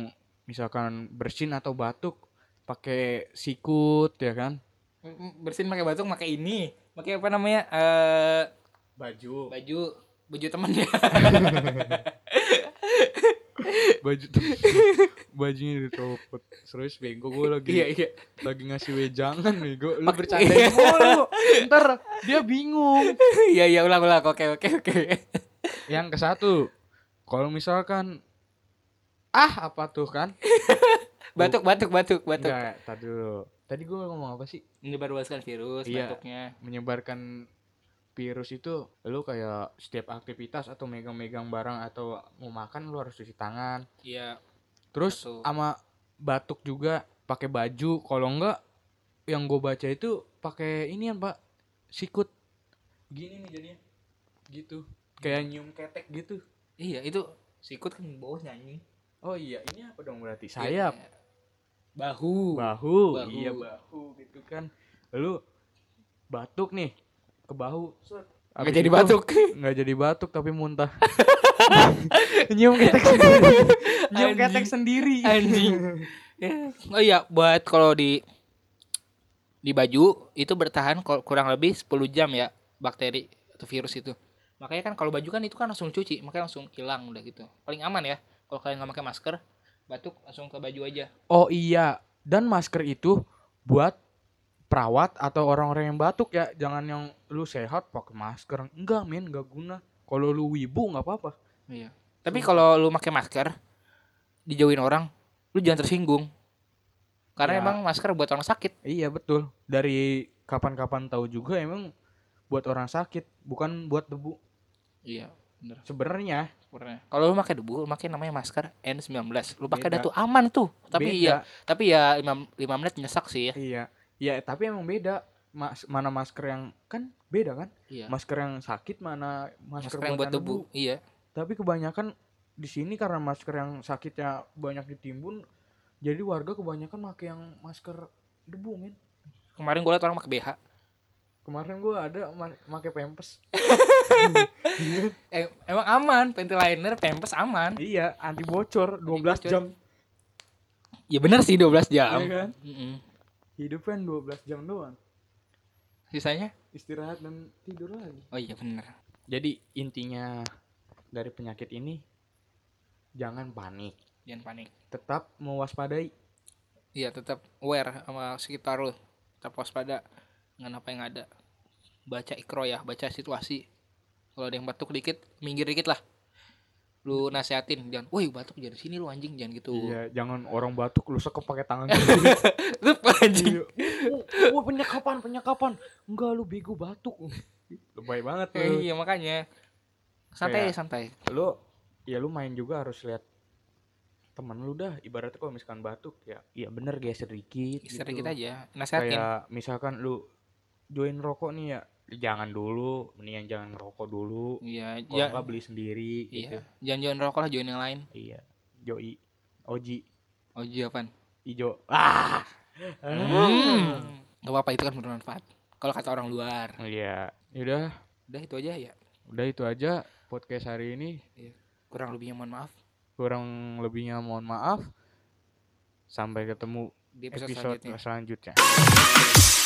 S2: misalkan bersin atau batuk pakai sikut ya kan
S1: Bersin pakai batuk, pakai ini. Pakai apa namanya? Eh
S2: baju
S1: baju baju temen ya.
S2: baju bajunya dicopot terus bego gue lagi
S1: iya.
S2: lagi ngasih wejangan bego lu
S1: Pak-
S2: bercandain mulu ntar dia bingung
S1: Iya, iya, ulang, ulang. Oke, oke, oke.
S2: yang ke satu kalau misalkan ah apa tuh kan
S1: Batuk, batuk, batuk, batuk.
S2: enggak tar dulu tadi gue ngomong apa sih
S1: menyebarluaskan virus
S2: Iya.
S1: batuknya
S2: menyebarkan virus itu lu kayak setiap aktivitas atau megang-megang barang atau mau makan lu harus cuci tangan
S1: iya
S2: Terus
S1: Satu.
S2: sama batuk juga pakai baju. Kalau enggak yang gue baca itu pakai ini ya Pak, sikut. Gini nih jadinya. Gitu. Kayak nyium ketek gitu.
S1: iya itu sikut kan bau nyanyi
S2: Oh iya, ini apa dong berarti? Sayap.
S1: Iya. bahu
S2: Bahu.
S1: Bahu.
S2: Iya, bahu gitu kan. Lu batuk nih ke bahu. Set.
S1: nggak
S2: Habis
S1: jadi
S2: itu-
S1: batuk
S2: Nggak jadi batuk tapi muntah. nyium ketek. nyium
S1: Anjing.
S2: ketek sendiri.
S1: anjing Ya. oh iya buat kalau di di baju itu bertahan kol- kurang lebih 10 jam ya bakteri atau virus itu makanya kan kalau baju kan itu kan langsung cuci makanya langsung hilang udah gitu paling aman ya kalau kalian nggak pakai masker batuk langsung ke baju aja
S2: Oh iya, dan masker itu buat perawat atau orang-orang yang batuk ya. Jangan yang lu sehat pakai masker. Enggak, men, enggak guna. Kalau lu wibu nggak apa-apa.
S1: Iya. Tapi kalau lu pakai masker dijauhin orang, lu jangan tersinggung. Karena
S2: Ya.
S1: emang masker buat orang sakit.
S2: Iya, betul. Dari kapan-kapan tahu juga emang buat orang sakit, bukan buat debu.
S1: Iya, bener.
S2: Sebenarnya
S1: Kalau lu pakai debu, lu pakai namanya masker N19. Lu pakai
S2: Beda.
S1: dah tuh aman tuh. Tapi
S2: beda.
S1: iya, tapi ya 5, menit nyesak sih ya.
S2: Iya. Iya, tapi emang beda. Mas- mana masker yang kan beda kan?
S1: Iya.
S2: Masker yang sakit mana masker,
S1: Masker yang buat
S2: buatan
S1: debu. Iya.
S2: Tapi kebanyakan di sini karena masker yang sakitnya banyak ditimbun, jadi warga kebanyakan pakai yang masker debu, Min.
S1: Kemarin gua liat orang pakai BH.
S2: Kemarin gua ada ma- pakai Pampers.
S1: Eh, emang aman, panty liner, pampers aman.
S2: iya, anti bocor 12
S1: bocor.
S2: jam.
S1: Ya bener sih 12
S2: Iya
S1: jam.
S2: kan?
S1: Mm-mm.
S2: Hidup kan 12 jam doang.
S1: Sisanya?
S2: Istirahat dan tidur lagi.
S1: Oh iya bener.
S2: Jadi intinya dari penyakit ini jangan panik,
S1: Jangan panik.
S2: tetap mewaspadai.
S1: Iya tetap aware sama sekitar lu tetap waspada dengan apa yang ada baca ikro ya baca situasi kalau ada yang batuk dikit minggir dikit lah lu nasehatin jangan woi batuk jangan sini lu anjing jangan gitu
S2: Iya, jangan orang batuk lu sekep pakai tangan.
S1: lu anjing
S2: Iya. Oh, oh, penyekapan, penyekapan. Enggak lu bego batuk. Lebay banget
S1: Eh, iya makanya santai
S2: Kayak-
S1: santai
S2: Lu ya lu main juga harus lihat temen lu dah ibaratnya kalau misalkan batuk ya iya bener geser dikit
S1: istirahat
S2: gitu.
S1: dikit aja nasehatin
S2: kayak misalkan lu join rokok nih ya jangan dulu mendingan jangan rokok dulu
S1: iya
S2: kalau
S1: ja-
S2: enggak beli sendiri gitu
S1: iya jangan join rokok lah join yang lain
S2: iya joi oji
S1: oh iya apaan
S2: ijo ah
S1: hmm. gak apa-apa itu kan bermanfaat kalau kata orang luar
S2: iya yaudah
S1: udah itu aja ya
S2: udah itu aja podcast hari ini
S1: kurang lebihnya mohon maaf
S2: kurang lebihnya mohon maaf sampai ketemu
S1: di episode,
S2: episode
S1: selanjutnya
S2: selanjutnya.